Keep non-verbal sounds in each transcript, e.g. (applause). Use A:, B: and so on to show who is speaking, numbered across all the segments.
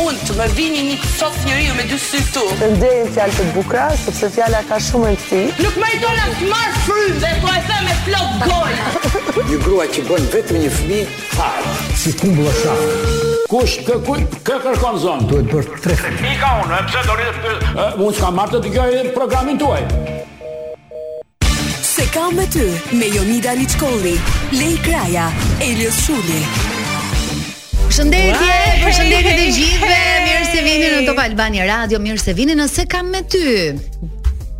A: unë të më vini një sof njeriu me dy sy këtu.
B: Të nderin fjalë të bukura, sepse fjala ka shumë rëndësi.
A: Nuk më tonë as të marr frymë dhe po e them me plot gojë.
C: Një grua që bën vetëm një fëmijë fare.
D: si kumbulla shafë.
E: Kush kë kë kë kërkon zonë?
D: Duhet bërë tre fëmijë.
E: Mika unë, e pse do rritë Unë s'kam marrë të dëgjoj programin tuaj.
F: Se kam me ty me Jonida Liçkolli, Lej Kraja, Elios Shuli.
G: Përshëndetje, përshëndetje të gjithëve. Mirë se vini në Top Albani Radio, mirë se vini në Se kam me ty.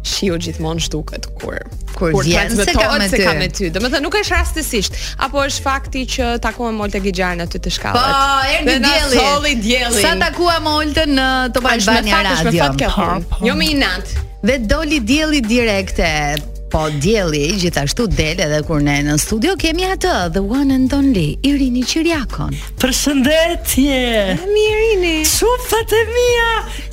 H: Shiu gjithmonë shtuket kur
G: Kur vjen, se kam me
H: transmetohet se
G: ty.
H: kam me ty. Domethënë nuk është rastësisht, apo është fakti që takohem Molte Gixhan aty të
G: Po,
H: shkallët.
G: erdhi
H: Dhe na
G: dielli.
H: solli diellin.
G: Sa takuam Oltën në Top
H: Është me
G: Albani
H: fat, është me
G: Po, Radio.
I: Po,
H: fat kjo punë. Jo me inat.
G: Dhe doli dielli direkte. Po dielli gjithashtu del edhe kur ne në studio kemi atë the one and only Irini Qiriakon.
I: Përshëndetje.
H: Mirini.
I: Çupat e mia,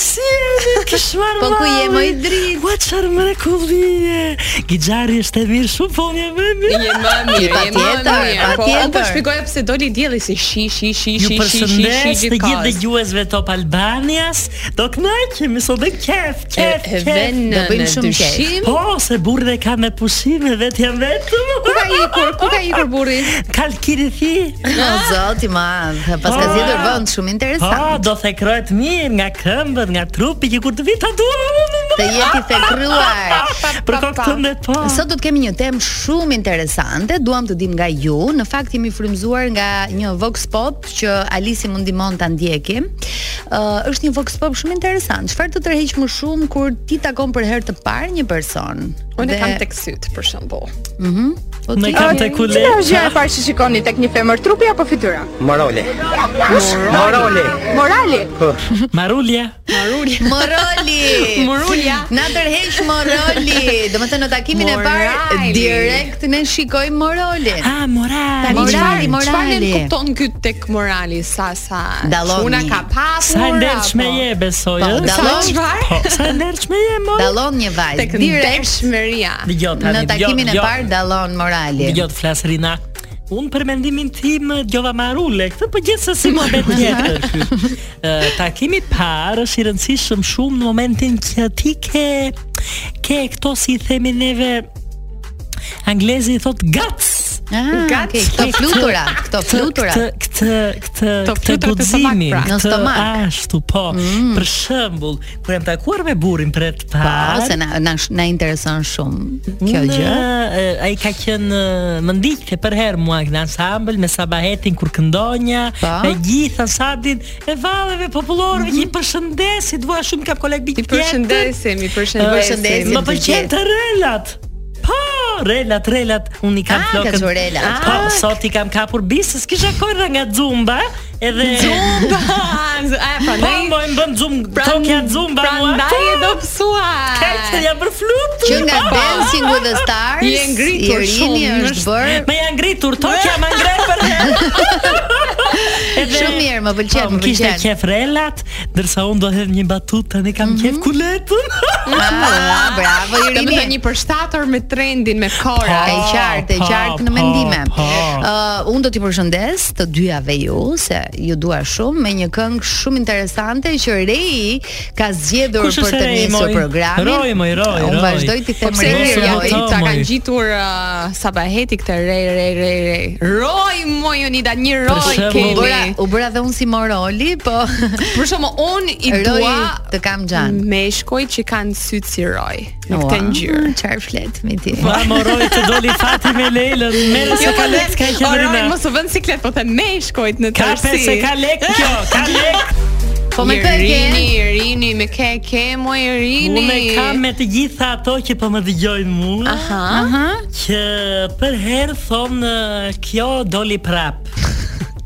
I: si jeni kishmar
G: Po ku je, moj drit?
I: Ua çfarë mrekullie. Gixhari është e mirë, shumë po më më mirë.
H: Je më mirë, je më
G: patjetër,
H: mirë. Po,
G: patjetër.
H: unë po shpjegoja pse doli dielli si shi shi shi
I: Ju
H: shi shi shi shi
I: përshëndes të gjithë
H: gjithkohës.
I: dëgjuesve Top Albanias. Do kënaqemi sot dhe kef,
H: E
I: kef,
H: e dhe
I: kef.
H: në
G: Do bëjmë
H: në
G: shumë qejf.
H: dyshim.
I: Po, se burri dhe ka me pushime vetë jam vetëm.
H: Ku ka ikur? Ku ka ikur burri?
I: Kalkiri thi.
G: O zot i madh, pas ka
I: Po.
G: zgjedhur vend shumë
I: Po,
G: interesant.
I: do thekrohet mirë nga këmbët, nga trupi që kur të vi ta duam.
G: Të jeti thekruar.
I: Për kokë këmbët po.
G: Sot do të kemi një temë shumë interesante, duam të dim nga ju. Në fakt jemi frymzuar nga një Vox Pop që Alisi mund ndihmon ta ndjekim. Ë është një Vox Pop shumë interesant. Çfarë të tërheq më shumë kur ti takon për herë të parë një person?
H: Unë
G: Dhe-
H: e kam tek syt për shembull.
G: Po
I: Me
G: ti
I: kam të kule. (laughs)
J: gjëja e parë që shikoni tek një femër, trupi apo fytyra?
C: Morale. Morale.
J: Morali.
I: Marulja.
H: (laughs)
G: Moroli.
H: Morulja.
G: Na tërheq Moroli. Do të thënë në takimin e parë
H: Morali.
G: direkt ne shikojmë Morolin.
I: Ah, moral.
G: Tani Morali,
H: Çfarë
G: morali.
H: ne kupton ky tek morali sa sa?
G: Dalloni.
H: Una ka pas
I: Sa
H: moral,
I: ndershme
H: po.
I: je besoj,
G: Po,
I: ë?
G: da-
H: Sa
G: Dallon?
H: çfarë?
I: Po, sa ndershme je, mo.
G: Dallon një vajzë
H: Tek jo,
G: direkt
H: ndershmëria.
I: Dëgjoj Jo, tani.
G: në takimin e parë dallon Morali.
I: Dëgjoj flas Rina. Unë për mendimin tim djova marule, këtë po gjithë se si më (laughs) betë tjetër. Ë, takimi i parë është i rëndësishëm shumë në momentin që ti ke, ke këto si i themi neve, anglezi i thot guts.
G: Ah,
H: Gat.
G: okay, këto flutura, këto flutura.
I: Këtë këtë këtë
H: Këto flutra të stomak, pra.
G: Në
I: këtë
G: stomak.
I: ashtu po.
H: Mm.
I: Për shembull, kur jam takuar me burrin për të
G: Po, se
I: parë,
G: na na, na intereson shumë kjo
I: unë,
G: gjë.
I: e, Ai ka qenë e, më ndiqte për herë mua në ensemble me Sabahetin kur këndonja,
G: Po.
I: me gjithë ansambin e valleve popullore
G: Mhm.
I: që i përshëndesit, dua shumë kam koleg bik
H: I përshëndesim, i përshëndesim.
G: përshëndesim.
I: Më
G: të
I: pëlqen
G: gjithë.
I: të relat. Po, relat, relat, unë i kam
G: Ah, ka thënë relat.
I: Po, sot i kam kapur bisës, kisha korra nga (laughs) Zumba, edhe
H: Zumba. A
G: pra
H: e
I: Po,
H: pranoj?
I: më më bën Zumb, tokja Zumba mua.
H: Prandaj e do psua.
I: Këtë jam për flut.
G: Që nga
I: Po.
G: Dancing with the Stars,
H: Je ngritur
G: Irini
H: shumë,
G: është bërë
I: Me janë ngritur tokja, më ngrej për
G: (laughs)
I: Edhe
G: Shumë mirë, më pëlqen,
I: Po,
G: më
I: Kishte
G: pëlqen.
I: qef relat, ndërsa unë do hedh një batut, tani kam qef kuletën.
G: Mhm. Ah, bravo
H: Do të thënë
G: Irini.
H: një përshtator me trendin me kora.
G: E qartë, e
I: po,
G: qartë
I: po,
G: në mendime.
I: po.
G: Ë, unë do t'ju përshëndes të dyjave ju se ju dua shumë me një këngë shumë interesante që Rei ka zgjedhur
I: Kush
G: për
I: është
G: të
I: Rei, moj?
G: nisur programin.
I: Roj, moj, roj,
G: Unë
I: roj.
G: vazhdoj t'i
H: Po
G: them
H: pse
G: Rei,
H: mirë, ja,
G: roj.
H: i ta kanë
I: moj.
H: gjitur uh, Sabaheti këtë re re re re. Roj moj Jonida, një
I: Për
H: roj
I: shembull-
G: U bëra,
H: keni.
G: u bëra dhe unë si Moroli, po
H: Për shembull, unë
G: (laughs)
H: i
G: Roj
H: dua
G: të kam xhan.
H: meshkoj që kanë sytë si roj në këtë
G: Ua,
H: ngjyrë.
G: Çfarë flet me ti?
I: Po amoroj të doli fati me Leilën, merë se ka lek, s'ka
H: O,
I: qeverina.
H: Roj, Jo, mos u vën siklet, po them meshkojt në
I: Ka pe
H: tërësi.
I: se ka lek kjo, (laughs) ka lek.
G: Po me kë e
H: Rini,
G: ke?
H: Rini, me ke ke moj Rini.
I: Unë e kam me të gjitha ato që po më dëgjojnë mua,
H: Aha.
I: që për herë thonë kjo doli prap. (laughs)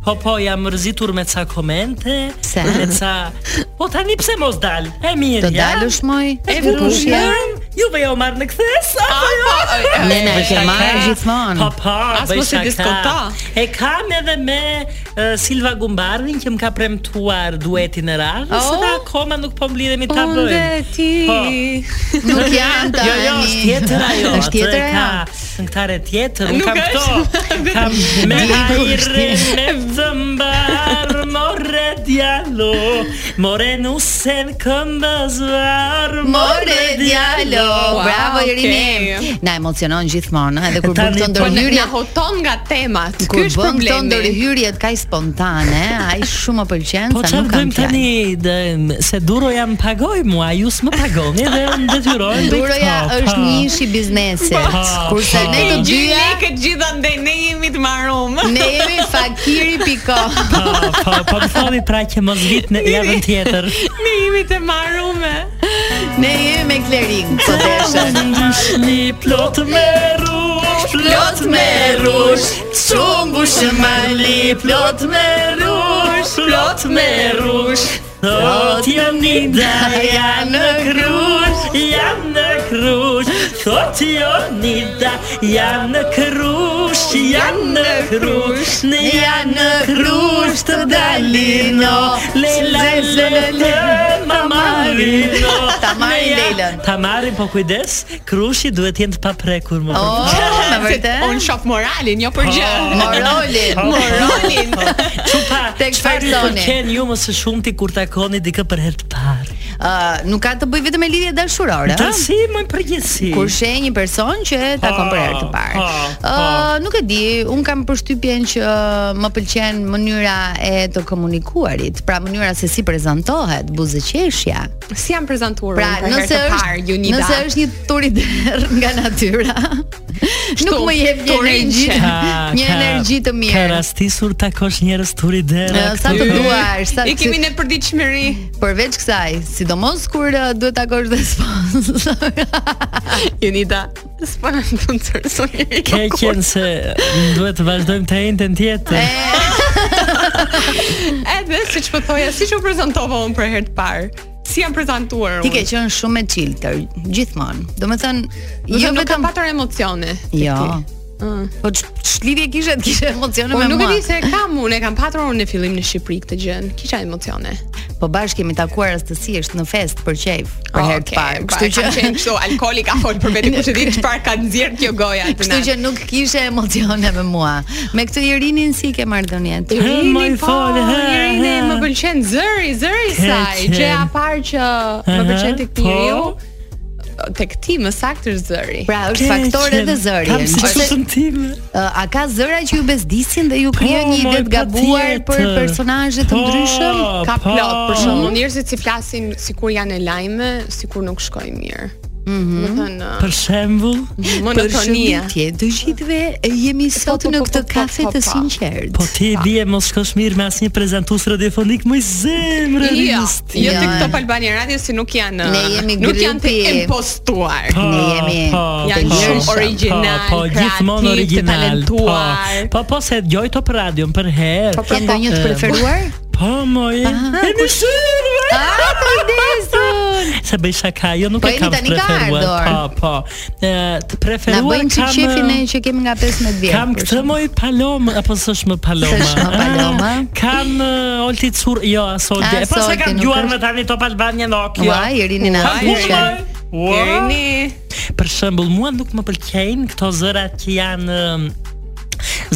I: Po po jam mërzitur me ca komente,
G: Pse?
I: me ca (laughs) Po tani pse mos dal? E mirë.
G: Do
I: ja.
G: dalësh moj?
I: E bukur jam. Juve jo marr në kthes apo jo?
G: Nena, e ke
I: Bëj
G: marrë
I: shaka.
G: gjithmonë.
I: Po po,
H: As
I: bëj
H: mos e
I: shaka.
H: diskuto.
I: E kam edhe me e, Silva Gumbardhin që më ka premtuar duetin e radhës,
H: Oh.
I: oh. dhe akoma nuk po mblidhemi ta
H: Unë
I: bëjmë.
H: dhe ti.
G: Nuk janë tani.
I: Jo, jo, është tjetër ajo.
G: Është tjetër
I: ajo. Ka këtare tjetër, unë
H: Nuk
I: kam
H: është.
I: këto. Kam me
G: Dikur
I: hajre,
G: është
I: me zëmbar, morre djalo More nusen këmbës varë
G: More djalo.
H: Wow,
G: Bravo
H: okay.
G: Irini. Na emocionon gjithmonë, edhe kur bën
I: Tani po
G: këto
H: Po na na
G: ndërhyrje
H: hoton nga temat. Ky
G: Kur bën
H: është
G: këto
H: problemi.
G: ndërhyrje kaq spontane, ai shumë më pëlqen
I: Po
G: sa
I: çfarë
G: nuk kam
I: bëjmë
G: tani.
I: tani dhe, se duro jam pagoj mua, ju s'më pagoni dhe më detyrojnë. dhe
G: Duroja
I: këto,
G: është
I: po.
G: një ishi biznesi,
I: Po,
G: kurse
I: po.
G: ne të dyja
H: Gjyni këtë gjitha ndaj ne jemi të marrum.
G: ne jemi fakiri piko.
I: Po, po, po më thoni pra që mos vit në javën tjetër.
H: (laughs) Ne jemi të marrume. (laughs)
G: Ne jemi me Klerin, po deshën.
I: Ndishni plot me rush,
G: Plot me rush, shumë bushëmali, plot me rush, plot me rush.
I: Thot jam një daja në krush, jam në krush Thot jam një da, jam në krush, jam në krush Ne jam në krush të dalino, lejla të tamarino
G: Ta marrin Leilën.
I: Ta marrin po kujdes, krushi duhet jenë të paprekur më
G: Oh, me vërtet? Oh,
H: Un shoh moralin, jo për gjë.
G: Morolin.
H: (laughs) Moralin.
I: (laughs) Çupa,
G: Tek
I: çfarë ju
G: personi.
I: pëlqen ju më së shumti kur takoni dikë për herë të parë?
G: Ë, Ah, nuk ka të bëj vetëm me lidhje dashurore,
I: Ta
G: ëh.
I: si më përgjithsi.
G: Kur sheh një person që e takon për herë të parë.
I: Ah,
G: Ë, nuk e di, un kam përshtypjen që më pëlqen mënyra e të komunikuarit, pra mënyra se si prezantohet, buzëqeshja.
H: Si jam prezantuar
G: Pra, nëse është nëse është një (laughs) tur i derë nga natyra, nuk më jep një
H: turin
G: energji,
H: që-
I: Ka-
G: (laughs) një
I: ka-
G: energji të
I: Ka
G: mirë.
I: rastisur takosh njerëz turi dera.
G: Ë, Sa të duash, sa
H: I kemi në
G: (laughs)
H: përditshmëri.
G: Përveç kësaj, sidomos kur uh, duhet takosh dhe sponsor.
H: Unida. S'po na sponsor sonjeri.
I: Ke qenë se duhet të vazhdojmë të ejnë tjetër.
H: Edhe siç po thoja, siç u prezantova unë për herë të parë. Si jam prezantuar unë?
G: Ti ke qenë shumë e chillter gjithmonë. Domethënë,
H: Do të
G: jo
H: thënë, nuk kam
G: vetëm
H: patur emocione.
G: Jo.
H: Mm.
G: Po ç- ç'lidhje kishe të kishe emocione
H: Po
G: me
H: nuk e
G: mua.
H: di se kam unë, e kam patur unë në fillim në Shqipëri këtë gjë. Kisha emocione.
G: Po bashkë kemi takuar rastësisht në fest për qejf për herë të
H: Okej,
G: parë. Kështu
H: kam qenë
G: që
H: kështu alkooli ka fol për veten,
G: (laughs)
H: kush e di çfarë ka nxjerr kjo goja aty.
G: kështu që nuk kishe emocione me mua. Me këtë Irinin si ke marrë dhënjet?
I: He, moj
H: Irini po,
I: fol, he,
H: Irini
I: he.
H: më pëlqen zëri, zëri i
I: Ke
H: saj.
I: qenë.
H: Gjë e parë që më
I: Aha,
H: pëlqen tek
I: po.
H: njeriu, tek ti më saktë është zëri.
G: Pra është faktor edhe zëri.
I: Kam si
G: Ose,
I: qësën time.
G: ë, a ka zëra që ju bezdisin dhe ju
I: Po,
G: krijojnë një ide
I: moj,
G: të gabuar për
I: patjetër.
G: personazhe të
I: Po,
G: ndryshëm?
H: Ka
I: Po.
H: plot për
I: Mhm.
H: shembull, njerëzit si flasin sikur janë e lajme, sikur nuk shkojnë mirë. Mhm. Do të thënë
I: Për shembull,
H: monotonia.
G: Përshëndetje të gjithëve, jemi sot
H: po,
G: në
H: po,
G: këtë
H: po, po,
G: kafe
H: po,
G: të
H: po.
G: sinqert.
I: po ti e dje mos shkosh mirë me asnjë prezantues radiofonik më i zemrën.
H: Jo, jo
G: Jo,
H: tek
G: jo.
H: Top Albani Radio si nuk janë
G: Ne jemi
H: nuk janë të
G: grupi-
H: impostuar.
I: Po,
G: Ne jemi
I: po,
H: janë
I: po,
H: shumë
I: po,
H: original,
I: po, po, gjithmonë
H: kreativ, të
I: original, po.
H: talentuar.
I: Po, po se dëgjoj Top Radion për herë.
G: Ke ndonjë të
I: Eh,
G: preferuar?
I: Po, moj. Jemi shumë.
G: Ah, kujdesun.
I: Se bëj shaka, jo nuk
G: Po,
I: e kam
G: jeni tani ka
I: preferuar.
G: ardhur.
I: Po, po. E, të
G: Na
I: preferuar
G: bëjnë që
I: kam... uh, eh,
G: qefin e që kemi nga 15 vjetë.
I: Kam këtë moj palom apo s'është më paloma?
G: S'është më paloma.
I: Ah, Kam uh, olti cur, jo, as olti.
G: Ah,
I: E pas
G: s'olti
I: e kam
G: nuk
I: gjuar
G: është.
I: me tani Top Albania në Okja.
G: Ua, Irini na
I: Kam punë,
G: pëlqen.
I: moj. Ua.
H: Irini,
I: Për shembull, mua nuk më pëlqejnë këto zërat që janë um,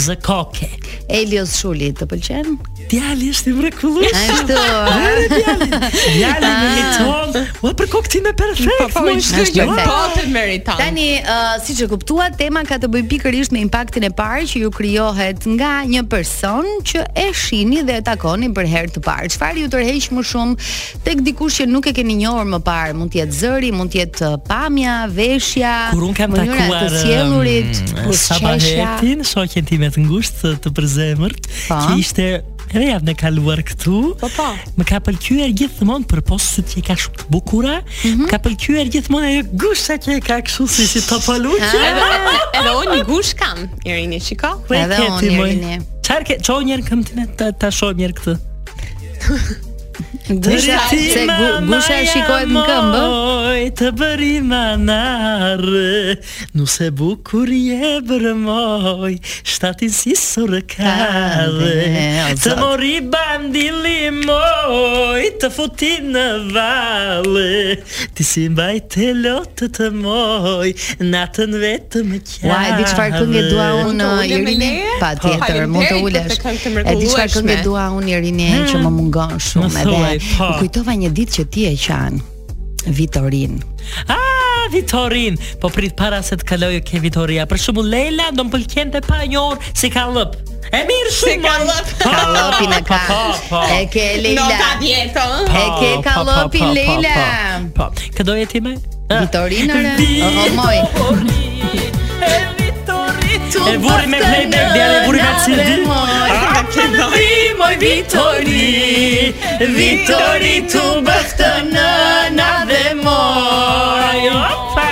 I: zë koke.
G: Elios Shuli të pëlqen?
I: Djali është i mrekullueshëm.
G: Ashtu.
I: Djali më miton. Ua për kokë ti më
H: po
I: perfekt.
H: po
I: moj,
H: çdo
G: është
H: gjë
G: perfekt.
H: po të meriton.
G: Tani, uh, siç e kuptua, tema ka të bëjë pikërisht me impaktin e parë që ju krijohet nga një person që e shihni dhe e takoni për herë të parë. Çfarë ju tërheq më shumë tek dikush që nuk e keni njohur më parë? Mund të jetë zëri, mund të jetë uh, pamja, veshja,
I: Kur un kam
G: mënyra
I: takuar
G: të sjellurit,
I: mm,
G: ushqeshja.
I: Sabahetin, shoqen time të ngushtë të- të përzemërt,
G: Po.
I: që ishte edhe javën e kaluar këtu.
H: Po, po.
I: Më ka pëlqyer gjithmonë përpos se ti ka shumë të bukura,
H: Mhm.
I: më ka pëlqyer gjithmonë ajo gushta që e ka kështu si si topaluqe.
H: Edhe edhe unë një gush kam. Irini, shiko.
I: Po e
G: Edhe
I: ke ti
G: unë,
I: moj.
G: Irini.
I: Çfarë ke? Çoj njërë këmbë time ta ta shoh mirë këtë.
G: Dysha se gu- gusha shikohet në këmbë.
I: Moj të bëri manar Nu se bukur je bërë moj Shtati si surë
G: Kade, o
I: kade Të
G: Zot.
I: mori bandili moj Të futi në vale Ti si mbaj të lotë të moj Natën vetë më kjave
G: Ua, e di çfarë këngë dua
H: Mund
G: unë uh,
H: të ulem me
G: Irini?
H: leje?
G: Patjetër,
H: Po.
G: mund të
H: Faleminderit për
G: ulesh.
H: këtë këngë të
G: E di çfarë këngë
H: mrekullueshme.
G: dua unë Irini që më mungon shumë
I: më
G: edhe
I: thuaj, po.
G: u kujtova një ditë që ti e qan Vitorin.
I: Ah, Vitorin. Po prit para se të kalojë ke Vitoria. Për shembull Leila do më pëlqente pa një orë si kallëp. E mirë shumë.
H: kallëp.
I: Po,
G: Kallopin e ka.
I: Po, po.
G: E ke Leila.
H: Nota 10, ëh.
I: po,
G: e ke
I: po, po,
G: kallopin,
I: po, po,
G: Leila.
I: Po. po. Kë doje ti më?
G: Vitorinore? O, o, moj.
I: E vuri me playback djale, e vuri me CD. Ah, ke doj, moj Vitori, Vitori tu bëftë në na dhe moj. Opa,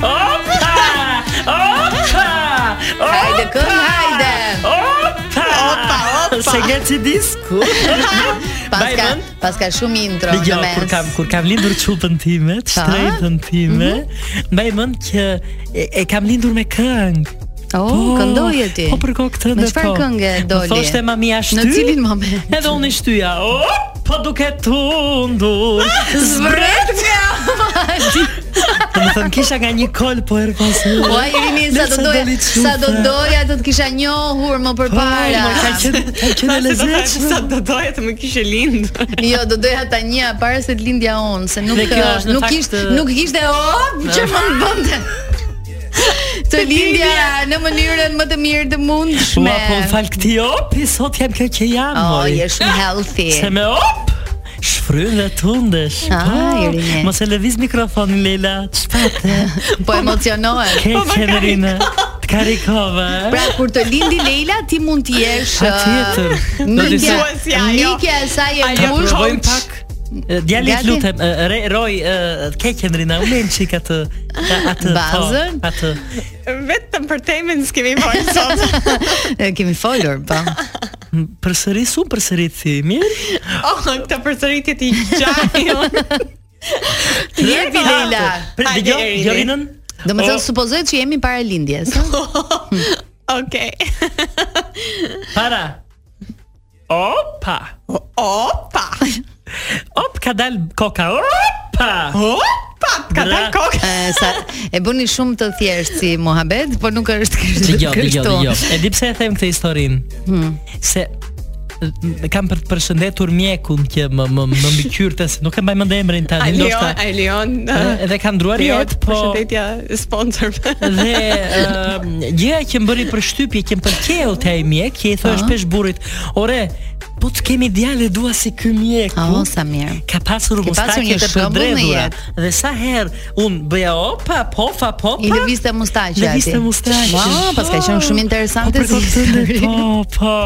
I: opa, opa, opa.
G: Hajde këngë, hajde.
I: Opa, opa, opa. Se gati
G: (laughs)
I: disku.
G: Paska,
I: Bajmën?
G: paska shumë intro në
I: Dëgjoj,
G: mes.
I: kur kam kur kam lindur çupën time, të
G: Ta?
I: shtrejtën time,
G: Mhm.
I: mbaj mend që e, e kam lindur me këngë.
G: O, Oh, këndoje ti.
I: Oh, Po për kohë këtë
G: Me
I: dhe po.
G: çfarë këngë
I: Më
G: doli?
I: Thoshte mamia shty.
G: Në cilin
I: (laughs)
G: moment?
I: Edhe unë i shtyja. O, po duket tundur. Zbret. (laughs) Do të thënë kisha nga një kol po er pas.
G: Ua Irini sa do doja, sa do doja do të kisha njohur më përpara.
I: Ka qenë ka qenë e lezetshme.
H: Sa do doja të më kishe lindur.
G: Jo, do doja ta një para se të lindja unë, se nuk eh,
I: Dhe kjo është në
G: nuk
I: fakt-
G: ishte nuk kishte hop që më të bënte. Të lindja në mënyrën më të mirë të mundshme.
I: Ua, po më fal këti opi, sot jam kjo që jam,
G: Oh,
I: moj.
G: je shumë healthy.
I: Se me op Shfryn dhe tundesh
G: Ah,
I: Po,
G: Irine.
I: Mos e lëviz mikrofonin Leila Çfarë?
G: Po emocionohet.
I: Ke qeverina Të karikova e?
G: Pra kur të lindi Leila ti mund të jesh
I: Patjetër.
G: ë,
I: Do të
G: mikja-
H: thuaj si ajo.
G: Mikja e saj e
I: Ja
G: bush.
I: provojmë pak E, Djali të
G: Djali?
I: lutem, e, re, roj, e, ke qendrina, u lejmë qik atë, a- atë, po,
G: Bazën?
I: atë,
H: Vetëm për temën s'kemi parë
G: (laughs)
H: sot.
G: E, Kemi folur, po.
I: M, përsëris unë përsërit si, mirë?
H: Oh, këtë përsëritje ti gjaj.
G: Të jepi Leila.
I: Pre,
H: Hajde,
I: dëgjoj,
H: Irine.
I: Jorinën?
G: Do më
I: O,
G: thënë supozohet që jemi para lindjes. ë?
H: (laughs) Okej. (laughs)
I: Para. Opa.
H: (laughs) Opa.
I: Op, ka dal koka, opa.
H: Opa, ka
I: Gra-
H: dal kokë.
G: E, sa e bëni shumë të thjeshtë si muhabet, por nuk është kështu.
I: Dëgjoj, dëgjoj,
G: kështu.
I: dëgjoj. E di pse e them këtë historinë. Se m- kam për të përshëndetur mjekun që më më më mbikyrte se nuk e mbaj mend emrin tani
H: Alion,
I: ndoshta.
H: Alion.
I: e- Edhe kam ndruar jetë, po
H: përshëndetja sponsorve.
I: (laughs) dhe ë, gjëja që më bëri përshtypje që më pëlqeu te ai mjek, që i thoi shpesh burrit, "Ore, po të kemi djalë dua si ky mjeku."
G: Oh, sa mirë.
I: Ka pasur
G: Ke
I: mustaqe
G: pasur një
I: të
G: shembull në
I: përdredhura
G: jetë.
I: Dhe sa herë unë bëja opa, pofa, popa
G: I lëviste mustaqe
I: Në viste mustaqe.
G: Wow, pas ka qenë shumë interesante
I: si
G: si histori.
I: Po, po.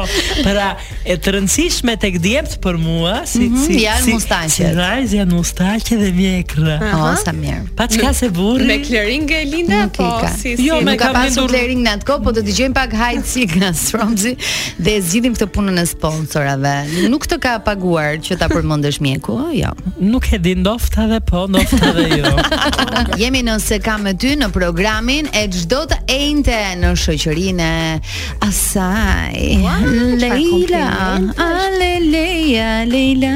I: Pra, e të rëndësishme tek djemt për mua si
G: Mhm,
I: si
G: janë
I: si,
G: mustaqet.
I: Si rajz janë mustaqe dhe mjekra.
G: Oh, sa mirë.
I: Pa Po, çka se burri.
H: Me klering e Linda
G: Nuk i
H: po
G: ka.
H: si
I: Jo,
H: si.
I: me
G: Nuk ka
I: kam
G: pasur
I: lindur-
G: clearing në atë kohë, po do të dëgjojmë pak Hide Seek nga (laughs) Stromzy dhe e zgjidhim këtë punën e sponsorave. Nuk të ka paguar që ta përmendesh mjeku, ë,
I: (laughs)
G: jo.
I: Nuk e di ndofta dhe po, ndofta dhe
H: (laughs)
I: jo.
G: Jemi në se kam me ty në programin e çdo të ejnte në shoqërinë e asaj. Leila, ale Leila, Leila.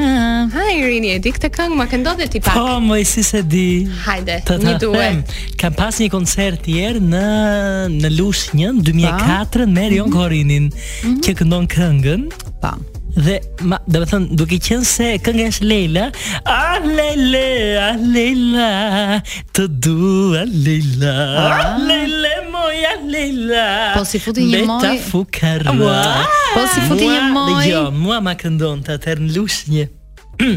H: Ha Irini, e di këtë këngë, ma ke ndodhe ti pak.
I: po, më si se di.
H: Hajde,
I: Të
H: një
I: ta them,
H: duet.
I: kam pas një koncert tjerë në në Lushnjë në 2004 me
H: Mhm.
I: Rion Korinin, që këndon këngën.
G: Po.
I: Dhe ma, sånn, do të thon duke qenë se kënga është Leila, a Leile, a Leila, të dua Leila, a Leile moja Leila.
G: Po, si futi një moj-
I: Beta fukara.
G: Po, si futi një
I: Mua-
G: moj-
I: Jo, mua ma këndon të atër në lushnje. (clears throat)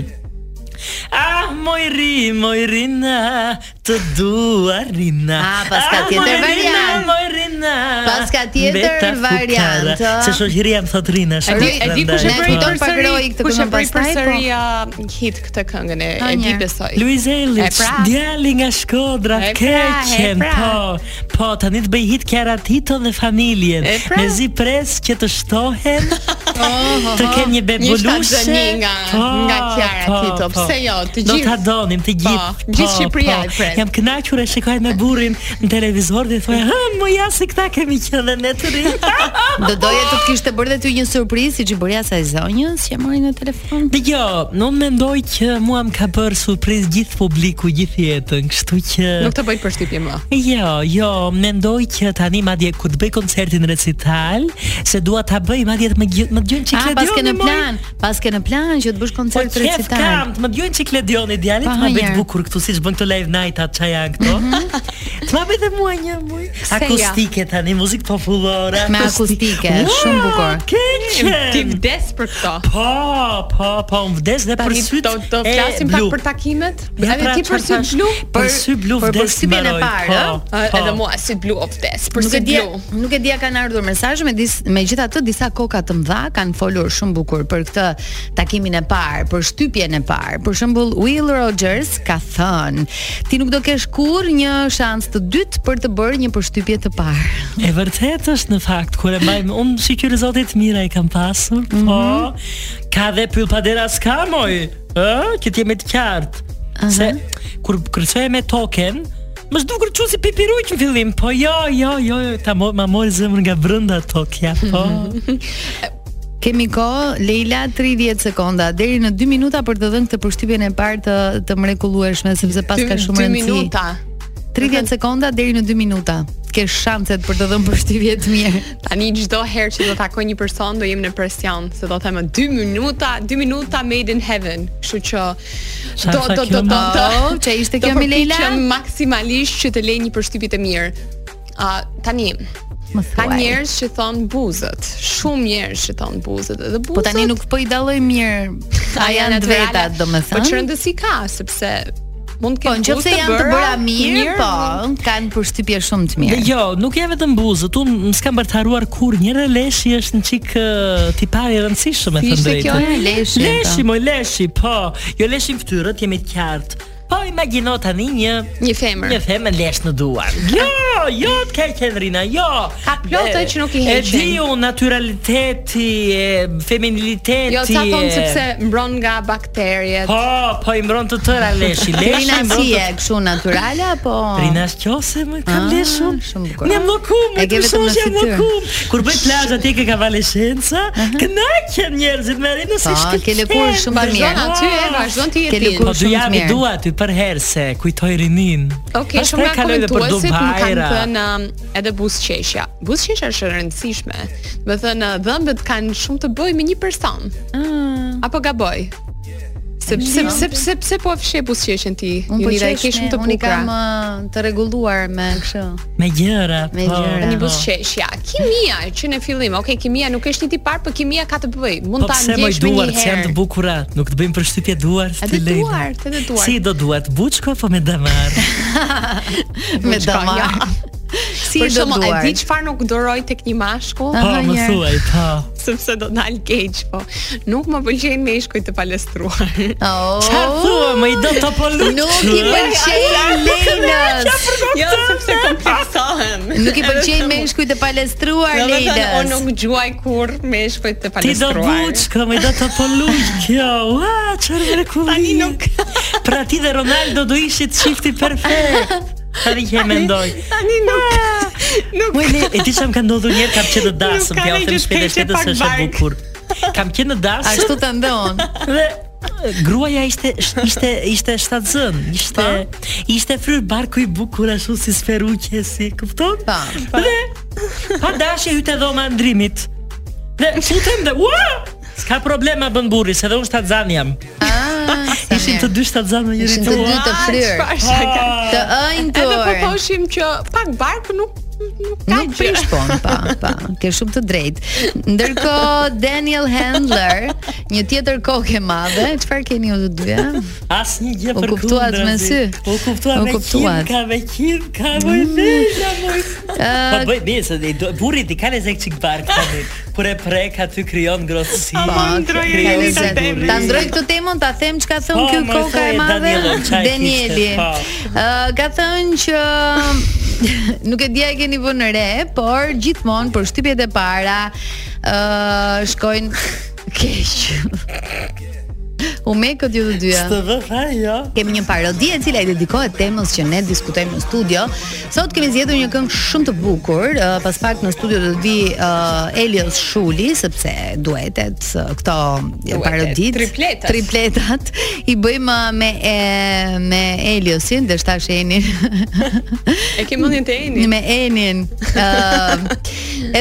I: Ah, moj ri, moj rina, Ah, të dua rina.
G: Ah, pas ka
I: Ah,
G: tjetër
I: moj rina,
G: variant.
I: Moj rina, Rina.
G: Paska tjetër
I: Beta Fukara.
G: variant, ë?
I: Se shoqëria më thot Rina.
H: E di,
I: shumë
H: e di
I: prandaj,
H: kush e
G: Ne
H: bëri
I: po.
G: kujton pak roi
H: përsëri,
G: këtë
H: kush e
G: këngën
H: bëri
G: pastaj, po.
H: përsëri ah, hit këtë këngën e e di
G: njerë.
H: besoj.
I: Luiz Elic,
H: E pra.
I: djali nga Shkodra,
H: E pra,
I: keqen,
H: e pra.
I: po, po, tani të bëj hit Keratito dhe familjen,
H: E pra. Oh,
I: me zi pres që të
H: (laughs)
I: shtohen, të kenë një
H: Një
I: bebulushe,
H: shtatzëni nga nga Kiara Tito, pse jo? Të
I: po. do
H: gjithë
I: ta donim të gjithë. po,
H: gjithë Shqipëria
I: po.
H: e pres.
I: Jam kënaqur e shikoj me burrin në televizor dhe thoya, "Hë, mo ja se këta kemi qenë dhe ne të ri."
H: (laughs)
G: Do doje të kishte bërë dhe ty një surprizë siç i bëri asaj zonjës që e mori në telefon.
I: Dgjoj, unë jo, mendoj që mua më ka bërë surprizë gjithë publiku gjithë jetën, kështu që
H: Nuk të bëj përshtypje më.
I: Jo, jo, mendoj që tani madje kur të bëj koncertin recital, se dua ta bëj madje të më gjë- më dëgjojnë
G: A, Ah, pas ke
I: Çikledioni.
G: në plan, pas ke në plan që të bësh
I: Po
G: koncert
I: qef
G: recital. Po,
I: kam, të më dëgjojnë Çikledioni djalit,
G: Pa,
I: të më bëj të
G: hajër.
I: bukur këtu siç bën këto live night atë çaj janë këto.
G: Mhm.
I: (laughs) Të më bëj dhe mua një muj.
H: ja.
I: Akustike tani, muzikë popullore.
G: jo. Me akustike, shumë bukur.
H: Ti
I: Keqen.
H: vdes për këto.
I: Po, po, po, më vdes dhe për
H: Tani
I: syt.
H: do do
I: e
H: flasim pak
I: blu.
H: për takimet.
I: Ja,
H: Edhe
I: pra,
H: ti për
I: çfarë
H: sy
I: thash?
H: blu?
I: Për sy blu
G: për- për
I: vdes.
G: sypjen e
I: mbaroj,
G: parë,
I: po,
G: ë?
H: A,
I: po.
H: Edhe mua si blu o vdes, për
G: Nuk
H: sy
G: e di,
H: blu.
G: nuk e di a kanë ardhur mesazhe me dis, megjithatë disa koka të mëdha kanë folur shumë bukur për këtë takimin e parë, për shtypjen e parë. Për shembull, Will Rogers ka thënë, ti nuk do kesh kurrë një shans të dytë për të bërë një përshtypje të parë.
I: E vërtet është në fakt kur e mbaj unë si ky zotit mira i kam pasur, po ka dhe pyll padera s'ka moj. Ë, që ti jemi të qartë. Se kur kërcoj me token, më s'dukur çu si pipiruq në fillim, po jo, jo, jo, jo, ta mo, ma mori zemrën nga brenda tokja, po.
G: Kemi kohë, Leila 30 sekonda deri në 2 minuta për të dhënë këtë përshtypjen e parë të të mrekullueshme sepse pas ka shumë
H: Dy
G: rëndësi.
H: minuta. Mhm.
G: 30 sekonda deri në 2 minuta. Ke shanset për të dhënë përshtypje të mirë.
H: Tani çdo herë që do takoj një person do jem në presion, se do them 2 minuta, 2 minuta made in heaven. Kështu që
I: Sa
H: do
I: tha
H: do
I: kjo,
H: do do.
I: ma?
H: do
G: Oh, që ishte kjo, mi Leila?
H: Do përpiqem maksimalisht që të lej një përshtypje të mirë. A tani
G: Më
H: Ka
G: thuaj.
H: njerëz që thon buzët, shumë njerëz që thon buzët, edhe buzët.
G: Po tani nuk po i dalloj mirë. A janë të
H: natyrale.
G: vetat, domethënë?
H: Po çrëndësi ka, sepse mund të
G: Po,
H: ketë
G: nëse janë të bëra mirë, po, kanë përshtypje shumë të
I: Dhe
G: mirë.
I: jo, nuk ja vetëm buzët, unë më s'kam bërë të haruar kur, njëre leshi është në qik ë, tipar i rëndësishëm e thënë
H: Ishte kjo
I: drejtë.
G: e leshi,
I: Leshi,
G: po.
I: moj leshi, po. Jo leshi në fytyrët, jemi të qartë. Po, imagjino tani një
H: Një femër.
I: Një themë lesh në duar. Jo, jo të ke qendrina, jo.
H: Ka plotë
I: E-
H: që nuk i
I: E
H: heqen.
I: di unë naturaliteti, e feminiliteti.
H: Jo, ca thon
I: e-
H: sepse mbron nga bakteriet.
I: Po, po i mbron të tëra leshi. Leshi
G: Rina
I: i mbron
G: si
I: të
G: e kështu natyrale apo?
I: Rina s'qose më kam
G: Ah,
I: leshun.
G: shumë bukur.
I: Jam lëkum,
G: E
I: më
G: ke
I: të
G: vetëm
I: shosh
G: në
I: jam
G: fytyrë.
I: lëkum. Kur bëj plazh atje ke kavaleshenca, kënaqen njerëzit me Rina si
G: Po,
I: shkëlqen.
G: ke lëkurë shumë të mirë.
H: Vazhdon aty e vazhdon ti
G: Ke
H: jetin.
G: lëkurë
I: Po
G: shumë
I: dy
G: të
I: javë
G: mirë.
I: dua aty për herë se kujtoj Rinin.
H: Okej,
I: Pastaj
H: shumë nga
I: kaloj dhe për
H: komentuesit më kanë
I: Dubajra.
H: thënë um, edhe buzëqeshja. Buzëqeshja është e rëndësishme. Do të thënë uh, dhëmbët kanë shumë të bëjë me një person.
G: Ah.
H: Apo gaboj? Sepse sepse sepse po fshe buzëqeshjen ti.
G: Unë po
H: Unida e ke
G: qesh,
H: shumë të
G: unë i kam uh, ë,
H: bukura.
G: të rregulluar me kështu.
I: Me gjëra,
G: Me
I: po.
G: gjëra.
H: Një buzëqeshja. Kimia që në fillim, okay, kimia nuk është një tipar, por kimia ka të bëjë. Mund
I: Po
H: ta
I: pse moj
H: ndjesh me
I: duart
H: një
I: që janë të
H: herë.
I: bukura, nuk të bëjmë përshtypje duart
H: Edhe duart, edhe duart.
I: Si do duart, buçko apo me damar?
G: Me
H: Buçka,
G: damar.
H: ja.
G: Si
H: Për
G: do
H: shembull, e
G: duar?
H: di çfarë nuk doroj tek një mashkull?
I: po,
G: Aha,
I: më
G: njerë.
I: thuaj, po.
H: sepse do dal keq, po nuk më pëlqejnë me ishkuj të palestruar.
G: Oh.
I: Çfarë thua, më i do të polu?
G: Nuk i pëlqejnë Lejnës.
H: jo, sepse kompleksohem.
G: Nuk
H: (laughs)
G: i pëlqejnë me shkujt e palestruar
H: Do të thënë, unë
G: Lejnës.
H: nuk gjuaj kur me ishkuj të
I: Ti do
H: palestruar.
I: buçko, më i do të polu kjo. Ua, çfarë mrekulli.
H: Tani nuk-
I: pra ti dhe Ronaldo do ishit çifti perfekt. Tani që e mendoj.
H: Tani nuk nuk
I: Moj le, e ti që më ka ndodhur njerë kam qenë në dasëm,
H: Nuk ka
I: t'ja
H: ne
I: them
H: gjë
I: shpejt e
H: t'keqe,
I: shpejt
H: pak
I: se është e
H: bark.
I: bukur. Kam qenë në dasëm.
G: Ashtu të ndon.
I: Dhe e, gruaja ishte sh- ishte ishte shtatzën, ishte
H: Po.
I: ishte fryr barku i bukur ashtu si sferuqe si, kupton?
H: (laughs)
G: Pa.
I: Dhe pa dashje hyte dhoma e ndrimit. Dhe futem dhe ua! S'ka problema bën burri, se dhe unë shtatzan jam.
G: Ah, sa
I: Ishin
G: mirë.
I: të dy shtatzan në njëri
G: Ishin të dy të
I: ua!
G: fryrë.
H: çfarë shaka.
G: Të ënjë të
H: Edhe po
G: orë.
H: thoshim që pak bark nuk nuk ka
G: Nuk po.
H: gjë.
G: prish pun, pa, pa. Ke shumë të drejtë. Ndërkohë Daniel Handler Një tjetër kokë e madhe. Çfarë keni ju të dyja?
I: Asnjë gjë
G: U
I: për
G: kuptuat me sy.
I: U kuptua
G: U
I: me kim,
G: kuptuat. Mm.
I: ka me kim, ka me vesh, moj. Po
G: (laughs) Ë,
I: bëj besë, burri ti kanë zek çik bark
G: (laughs)
I: tani. Kur e prek aty krijon grohtësi.
G: Po, ka
I: krijon
G: lezet.
I: burri.
G: Ta ndroj këtë temën, ta them çka thon
I: Po,
G: ky
I: më
G: koka e
I: thoje,
G: madhe
I: Danielo, çfarë
G: Danieli.
I: kishte, po.
G: Ë ka thënë që (laughs) nuk e dia e keni vënë re, por gjithmonë për shtypjet e para ë shkojnë (laughs) keq. U me këtë ju të dyja.
I: Të vë fare jo.
G: Kemi një parodi e cila i dedikohet temës që ne diskutojmë në studio. Sot kemi zgjedhur një këngë shumë të bukur. Uh, pas pak në studio do të vi uh, Elios Shuli sepse duetet uh, këto
H: Duetet,
G: parodit
H: tripletat.
G: tripletat i bëjmë uh, me e, me Eliosin dhe shtash jeni
H: (laughs) E ke mendjen te eni.
G: me Enin. Ë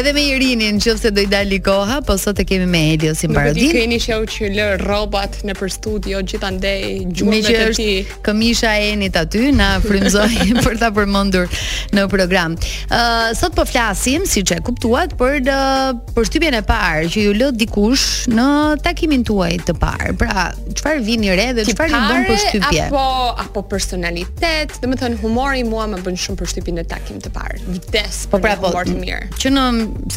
G: edhe me Irinin, nëse do i dali koha, po sot e kemi me Eliosin
H: Nuk e di
G: parodin.
H: keni shau që lë rrobat në për studio gjithandej
G: Me
H: gjurmet
G: që
H: e
G: është
H: ti.
G: këmisha e enit aty,
H: (laughs)
G: na frymzoi (laughs) për ta përmendur në program. Ë sot po flasim, siç e kuptuat, për uh, për shtypjen e parë që ju lë dikush në takimin tuaj të parë. Pra, çfarë vini re dhe çfarë ju bën për shtypje?
H: apo apo personalitet, domethënë humori mua më bën shumë përshtypjen në takim të parë. Vdes
G: Po
H: për
G: pra
H: një
G: po,
H: humor të mirë.
G: që në